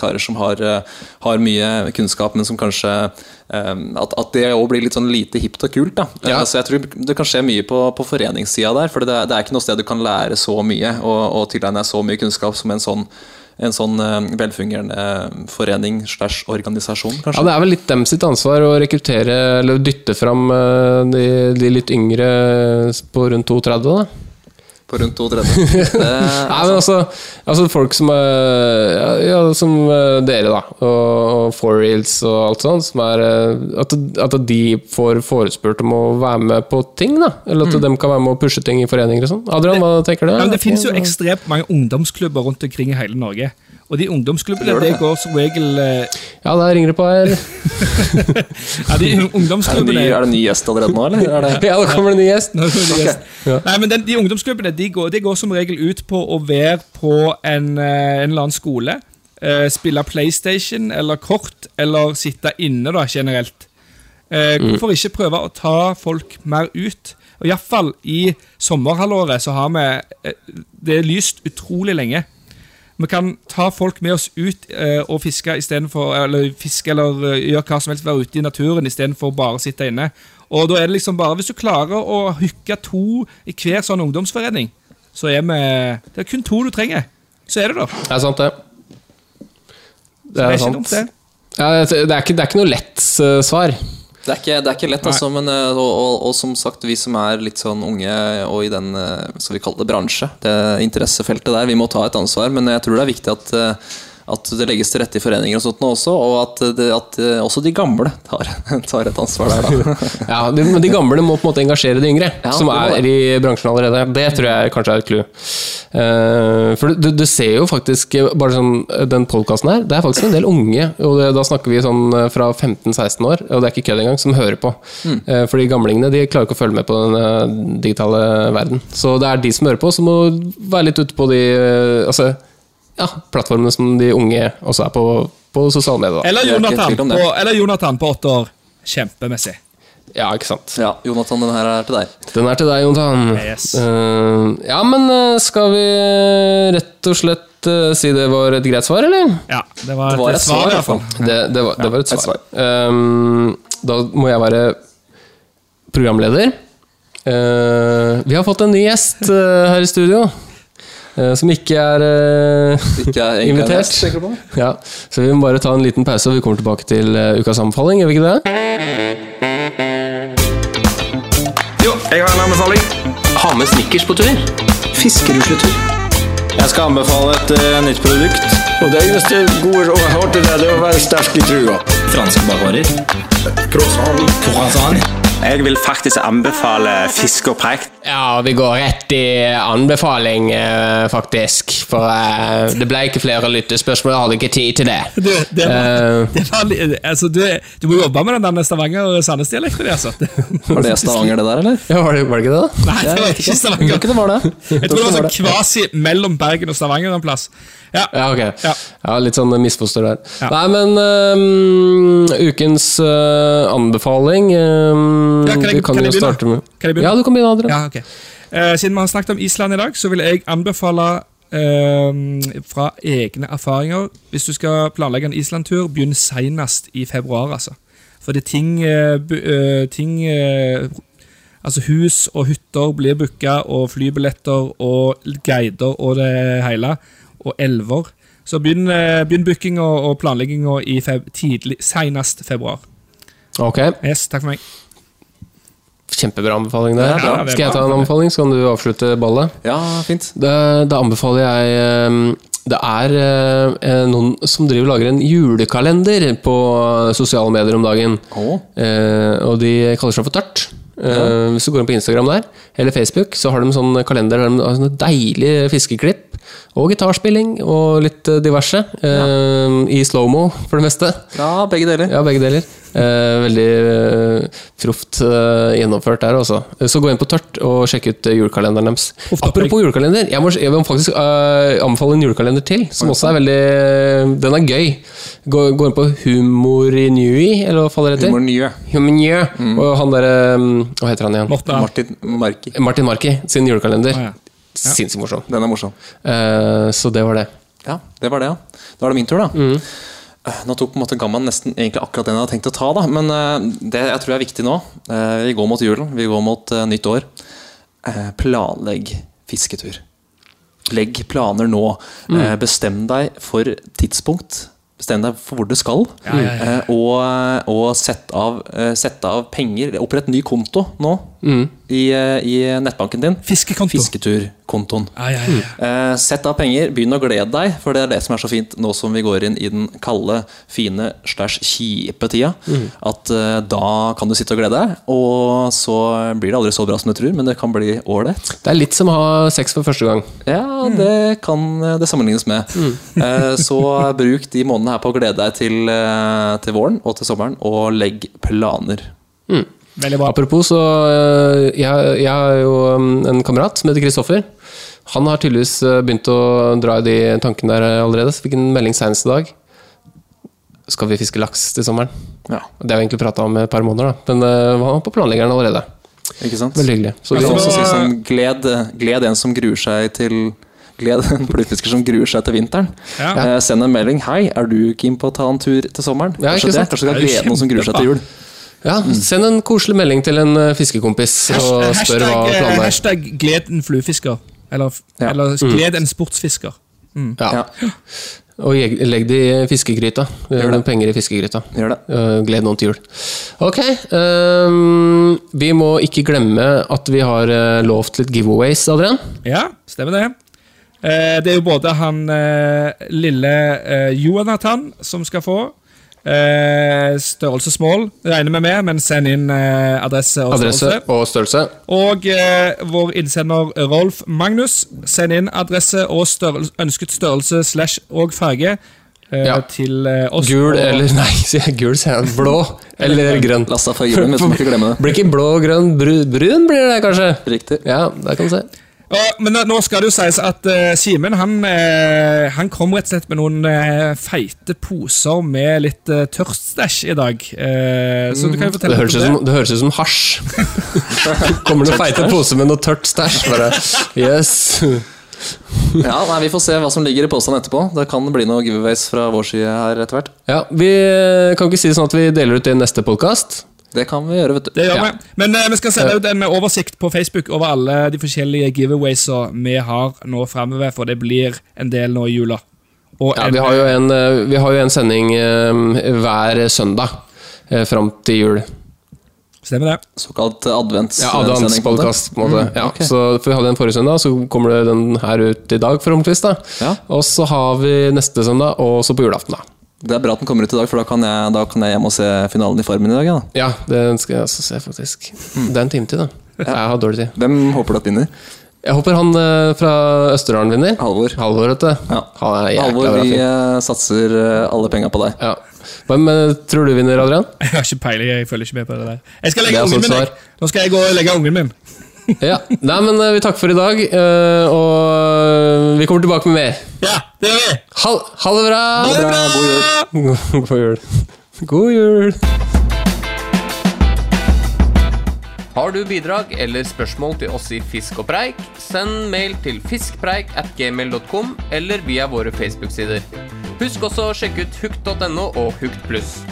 H: karer som har, eh, har mye kunnskap, men som kanskje eh, At, at det òg blir litt sånn lite hipt og kult. da
G: Ja.
H: Eh, Så jeg tror det kan skje mye på, på foreningssida der, for det, er- det er ikke noe sted du kan lære så mye og, og tilegne deg så mye kunnskap som en sånn en sånn eh, velfungerende eh, forening slash organisasjon,
G: Ja,
H: kanskje.
G: Det er vel litt dem sitt ansvar å rekruttere eller dytte fram eh, de, de litt yngre på rundt 32, da.
H: På rundt Eh, 32.
G: Nei, men altså, altså folk som er, ja, ja, som eh, dere, da, og, og fourreels og alt sånt, som er eh, at, at de får forespurt om å være med på ting, da. Eller at de kan være med å pushe ting i foreninger og sånn. Adrian, hva tenker du?
F: Mm. Ja, men det finnes jo ekstremt mange ungdomsklubber rundt omkring i hele Norge. Og de ungdomsklubbene det går som regel eh,
G: Ja, der ringer det på her.
F: [laughs] Ja,
G: [laughs]
F: de
H: Er det, en ny,
F: ungdomsklubbene
H: er det en ny gjest allerede nå, eller? Er det
G: Ja, da kommer det en ny gjest.
F: Nå er [laughs] det gjest. Nei, men den, De ungdomsklubbene de går, de går som regel ut på å være på en, eh, en eller annen skole. eh, spille PlayStation eller kort, eller sitte inne da, generelt. Eh, hvorfor ikke prøve å ta folk mer ut? Og Iallfall i sommerhalvåret så har vi eh, Det er lyst utrolig lenge. Vi kan ta folk med oss ut eh, og fiske istedenfor Eller fiske eller eh, gjøre hva som helst, være ute i naturen istedenfor bare å sitte inne. Og da er det liksom bare Hvis du klarer å hooke to i hver sånn ungdomsforening, så er vi Det er kun to du trenger. Så er det, da.
G: Det er sant, det. Det
F: Det
G: er,
F: er ikke dumt,
G: sant.
F: det.
G: Ja, det, er ikke, det er ikke noe lett eh,
H: [laughs]
G: svar.
H: Det er ikke, det er ikke lett, altså, men, eh, og, og, og som sagt, vi som er litt sånn unge og i den eh, skal vi kalle det bransje, det interessefeltet der, vi må ta et ansvar. Men jeg tror det er viktig at, eh, at det legges til rette i foreninger og sånt nå også, og at, det, at eh, også de gamle tar, [laughs] tar et ansvar
G: [laughs]
H: der, da.
G: Ja, de, men de gamle må på en måte engasjere de yngre,
H: Ja,
G: som
H: det må
G: er i bransjen allerede. Det tror jeg kanskje er et clou. Eh, for du, du ser jo faktisk eh, bare sånn, eh, Den podkasten her, det er faktisk en del unge, og det, da snakker vi sånn eh, fra 15-16 år, og det er ikke kødd engang, som hører på.
H: Mm.
G: Eh, for de gamlingene de klarer ikke å følge med på den eh, digitale verden. Så det er de som hører på, som må være litt ute på de eh, altså, ja, plattformene som de unge også er på, på sosiale medier.
F: Eller
H: Det er ikke
F: Jonathan,
H: tvil om det.
F: på, eller Jonathan på åtte år. Kjempemessig.
G: Da. Ja, ikke sant.
H: Ja, Jonathan, den her er til deg.
G: Den er til deg, Jontan.
F: Yes.
G: Eh, ja, men eh, skal vi eh, rett og slett eh, si det var et greit svar, eller?
F: Ja, det var,
H: Det var et svar, i hvert
F: iallfall.
H: fall.
G: Det, det, var, det var et
H: et
G: svar. Ehm, da må jeg være programleder. Eh, vi har fått en ny gjest eh, her i studio. eh, som ikke er eh, [laughs]
H: Ikke er egentlig en
G: invitert.
H: gjest, tenker du på?
G: ja, så vi må bare ta en liten pause, og vi kommer tilbake til eh, ukas anbefaling. Gjør vi ikke det?
I: Jo, jeg har en anbefaling.
A: Ha med snickers på tur.
I: Jeg skal anbefale et eh, nytt produkt. Og det eneste gode rådet jeg har til deg, det er å være sterk i trua. Franske bakvarer. Croissant. Jeg vil faktisk anbefale fisk og preik.
G: Ja, vi går rett i anbefaling, eh, faktisk. For eh, det ble ikke flere lyttespørsmål, jeg hadde ikke tid til det.
F: Du, det var,
G: Eh,
F: [laughs] det var, li- altså, du, du må jobbe med den der Stavanger-Sandnes-dialekten. Altså.
H: Var det Stavanger, det der, eller?
G: ja, var, det, var det ikke det, da?
F: [laughs] Nei, det var ikke
H: Jeg tror
F: Stavanger.
H: ikke det var det.
F: Jeg tror det var sånn kvasi mellom Bergen og Stavanger en plass. Ja,
G: Ja, ok.
F: Ja.
G: Ja. Litt sånn misfoster der.
F: Ja.
G: Nei, men eh, ukens eh, anbefaling eh,
F: Ja, kan jeg-
G: Vi kan,
F: kan jeg
G: jo
F: begynne?
G: starte med
F: Kan jeg begynne?
G: Ja, du kan begynne, Adrian.
F: ja ok. Eh, siden vi har snakket om Island i dag, så vil jeg anbefale eh, fra egne erfaringer Hvis du skal planlegge en Island-tur, begynn senest i februar, altså. For det er ting, eh, bu- eh, ting eh, Altså hus og hytter blir booka, og flybilletter og guider og det hele. Og elver. Så begynn, eh, begynn bookinga og planlegginga i feb tidlig, senest februar.
G: Ok,
F: Yes, takk for meg.
G: Kjempebra anbefaling. det
F: Ja, det er
G: Skal jeg ta
F: bra.
G: en anbefaling, så kan du avslutte ballet?
H: Ja, fint.
G: Da, da anbefaler jeg ehm, Det er eh, noen som driver og lager en julekalender på sosiale medier om dagen.
H: Å.
G: Eh, og de kaller seg for Tørt. Eh, Hvis du går inn på Instagram der eller Facebook, så har de en sånn kalender der de har sånne deilige fiskeklipp. Og gitarspilling og litt eh, diverse. eh, I slow-mo, for det meste.
H: Ja, begge deler.
G: Ja, begge deler. Eh, veldig eh, proft eh, gjennomført der, altså. Så gå inn på Tørt og sjekk ut eh, julekalenderen deres. Apropos julekalender, jeg må, jeg må faktisk eh, anbefale en julekalender til, som også er veldig Den er gøy. Gå, gå inn på Humorinui, eller hva faller det
H: Humor
G: heter?
H: nye.
G: Humorinui. Og han derre Hva heter han igjen?
F: Morten,
H: Martin Marki.
G: Martin Marki sin julekalender.
F: Å, ja.
G: Sinnssykt morsom.
H: Den er morsom.
G: Eh, så det var det.
H: Ja, det var det, ja. Da er det min tur, da. Eh, Nå tok på en måte Gamma nesten egentlig akkurat den jeg hadde tenkt å ta, da. Men eh, det jeg tror er viktig nå eh, Vi går mot julen, vi går mot eh, nytt år. Eh, Planlegg fisketur. Legg planer nå. Eh, Bestem deg for tidspunkt. Bestem deg for hvor du skal. Eh, Og, og sett, av, eh, sett av penger. Opprett ny konto nå i, eh, i nettbanken din.
F: Fiskekonto.
H: Fisketurkontoen.
F: Ja, ja, ja.
H: Eh, sett av penger, begynn å glede deg, for det er det som er så fint nå som vi går inn i den kalde, fine, slash kjipe tida. At eh, da kan du sitte og glede deg, og så blir det aldri så bra som du tror, men det kan bli ålreit.
G: Det er litt som å ha sex for første gang.
H: Ja, det kan eh, det sammenlignes med. [laughs] Eh, Så bruk de månedene her på å glede deg til, eh, til våren og til sommeren, og legg planer.
F: Veldig bra.
G: Apropos, så øh, jeg, jeg har jo øhm, en kamerat som heter Kristoffer. Han har tydeligvis øh, begynt å dra i de tankene der allerede. Så fikk en melding senest i dag. Skal vi fiske laks til sommeren?
H: Ja,
G: Det har vi egentlig prata om i et par måneder, da. Men øh, han var på planleggeren allerede.
H: ikke sant?
G: Veldig hyggelig. Så
H: Vi
G: vi,
H: kan også
F: så-
H: si sånn, gled, gled en som gruer seg til Gled [laughs] en fluefisker som gruer seg til vinteren.
F: Ja.
H: Eh, send en melding. 'Hei, er du keen på å ta en tur til sommeren?'
G: Ja,
H: kanskje
G: ikke sant?
H: det. Kanskje du
F: Det er
H: kan
F: jo
H: glede noen som gruer seg til jul.
G: ja, send en koselig melding til en øh, fiskekompis og spør hva
F: Hashtag, eh,
G: planen er.
F: hashtag 'gled en fluefisker'. Eller,
H: Ja.
F: eller
G: Mm.
F: 'gled en sportsfisker'.
G: Ja.
H: Ja.
G: Og jeg- legg det i fiskegryta. Gjør noen penger i fiskegryta.
H: Gjør det.
G: Eh, Gled noen til jul. Ok. ehm, vi må ikke glemme at vi har eh, lovt litt giveaways, Adrian.
F: Ja, stemmer det. Eh, det er jo både han eh, lille eh, Jonathan som skal få. Eh, størrelse small regner vi med, men send inn eh, adresse og
G: Adresse
F: størrelse.
G: og størrelse.
F: Og eh, vår innsender Rolf Magnus, send inn adresse og størrelse, ønsket størrelse slash og farge eh,
G: Ja.
F: til eh, oss.
G: Gul
F: Og-
G: eller [laughs] Nei, sier jeg gul, sier jeg. Blå eller grønn.
H: Lasta fra julen, hvis man ikke glemmer det.
G: Blir ikke blå, grønn, bru, brun blir det kanskje?
H: Riktig.
G: Ja, der kan du se.
F: Ja, men nå- nå skal det jo sies at eh, Simen han, eh, han kom rett og slett med noen eh, feite poser med litt uh, tørststæsj i dag. Eh, så du kan jo
G: Mhm. Det
F: fortelle
G: høres ut
F: litt om
G: som, det høres ut som hasj. Kommer det feite poser med noe tørt stæsj? Bare yes.
H: Ja, nei, Vi får se hva som ligger i posen etterpå. Det kan bli noen giveaways fra vår side her etter hvert.
G: Ja, Vi kan ikke si det sånn at vi deler ut det i neste podkast.
H: Det kan vi gjøre, vet du.
F: Det gjør
G: Ja.
F: vi. Men eh, vi skal sende ut en oversikt på Facebook over alle de forskjellige giveawaysa vi har nå framover, for det blir en del nå i jula. Og
G: Ja,
F: en-
G: vi, har jo en, eh, vi har jo en sending eh, hver søndag eh, fram til jul.
F: Stemmer det.
H: Såkalt advents...
G: Ja, Adventspodkast, på en måte. Ja,
H: Mm, ok.
G: så, for vi hadde den forrige søndag, så kommer det den her ut i dag, forhåpentligvis. da.
H: Ja.
G: Og så har vi neste søndag, og så på julaften, da.
H: Det er bra at den kommer ut i dag, for da kan jeg, da kan jeg hjem og se finalen i Farmen i dag. Ja. Mm.
G: Ja, den skal jeg også se, faktisk. Det er en time til, da. Jeg har dårlig tid.
H: Hvem håper du at vinner?
G: Jeg håper han eh, fra Østerdalen vinner.
H: Halvor.
G: Halvor, vet du.
H: Ja.
G: Han er jækla
H: Halvor,
G: bra
H: vi
G: fyr.
H: eh, satser eh, alle penga på deg.
G: Ja. Hvem eh, tror du vinner,
H: [laughs]
G: Adrian?
F: Jeg har ikke peiling. Jeg følger ikke med på det der. Jeg skal
G: Det
F: legge
G: er
F: ungen
G: sånn
F: min. jeg. Nå skal jeg gå og legge ungen min.
G: Ja. Nei, men eh, vi takker for i dag, eh, og vi kommer tilbake med mer.
F: Ja, det gjør vi!
G: Ha, ha det bra! God jul. God jul.
A: Har du bidrag eller spørsmål til oss i Fisk og preik, send mail til fiskpreik at gmail.com eller via våre Facebook-sider. Husk også å sjekke ut hukt.no og Hukt pluss.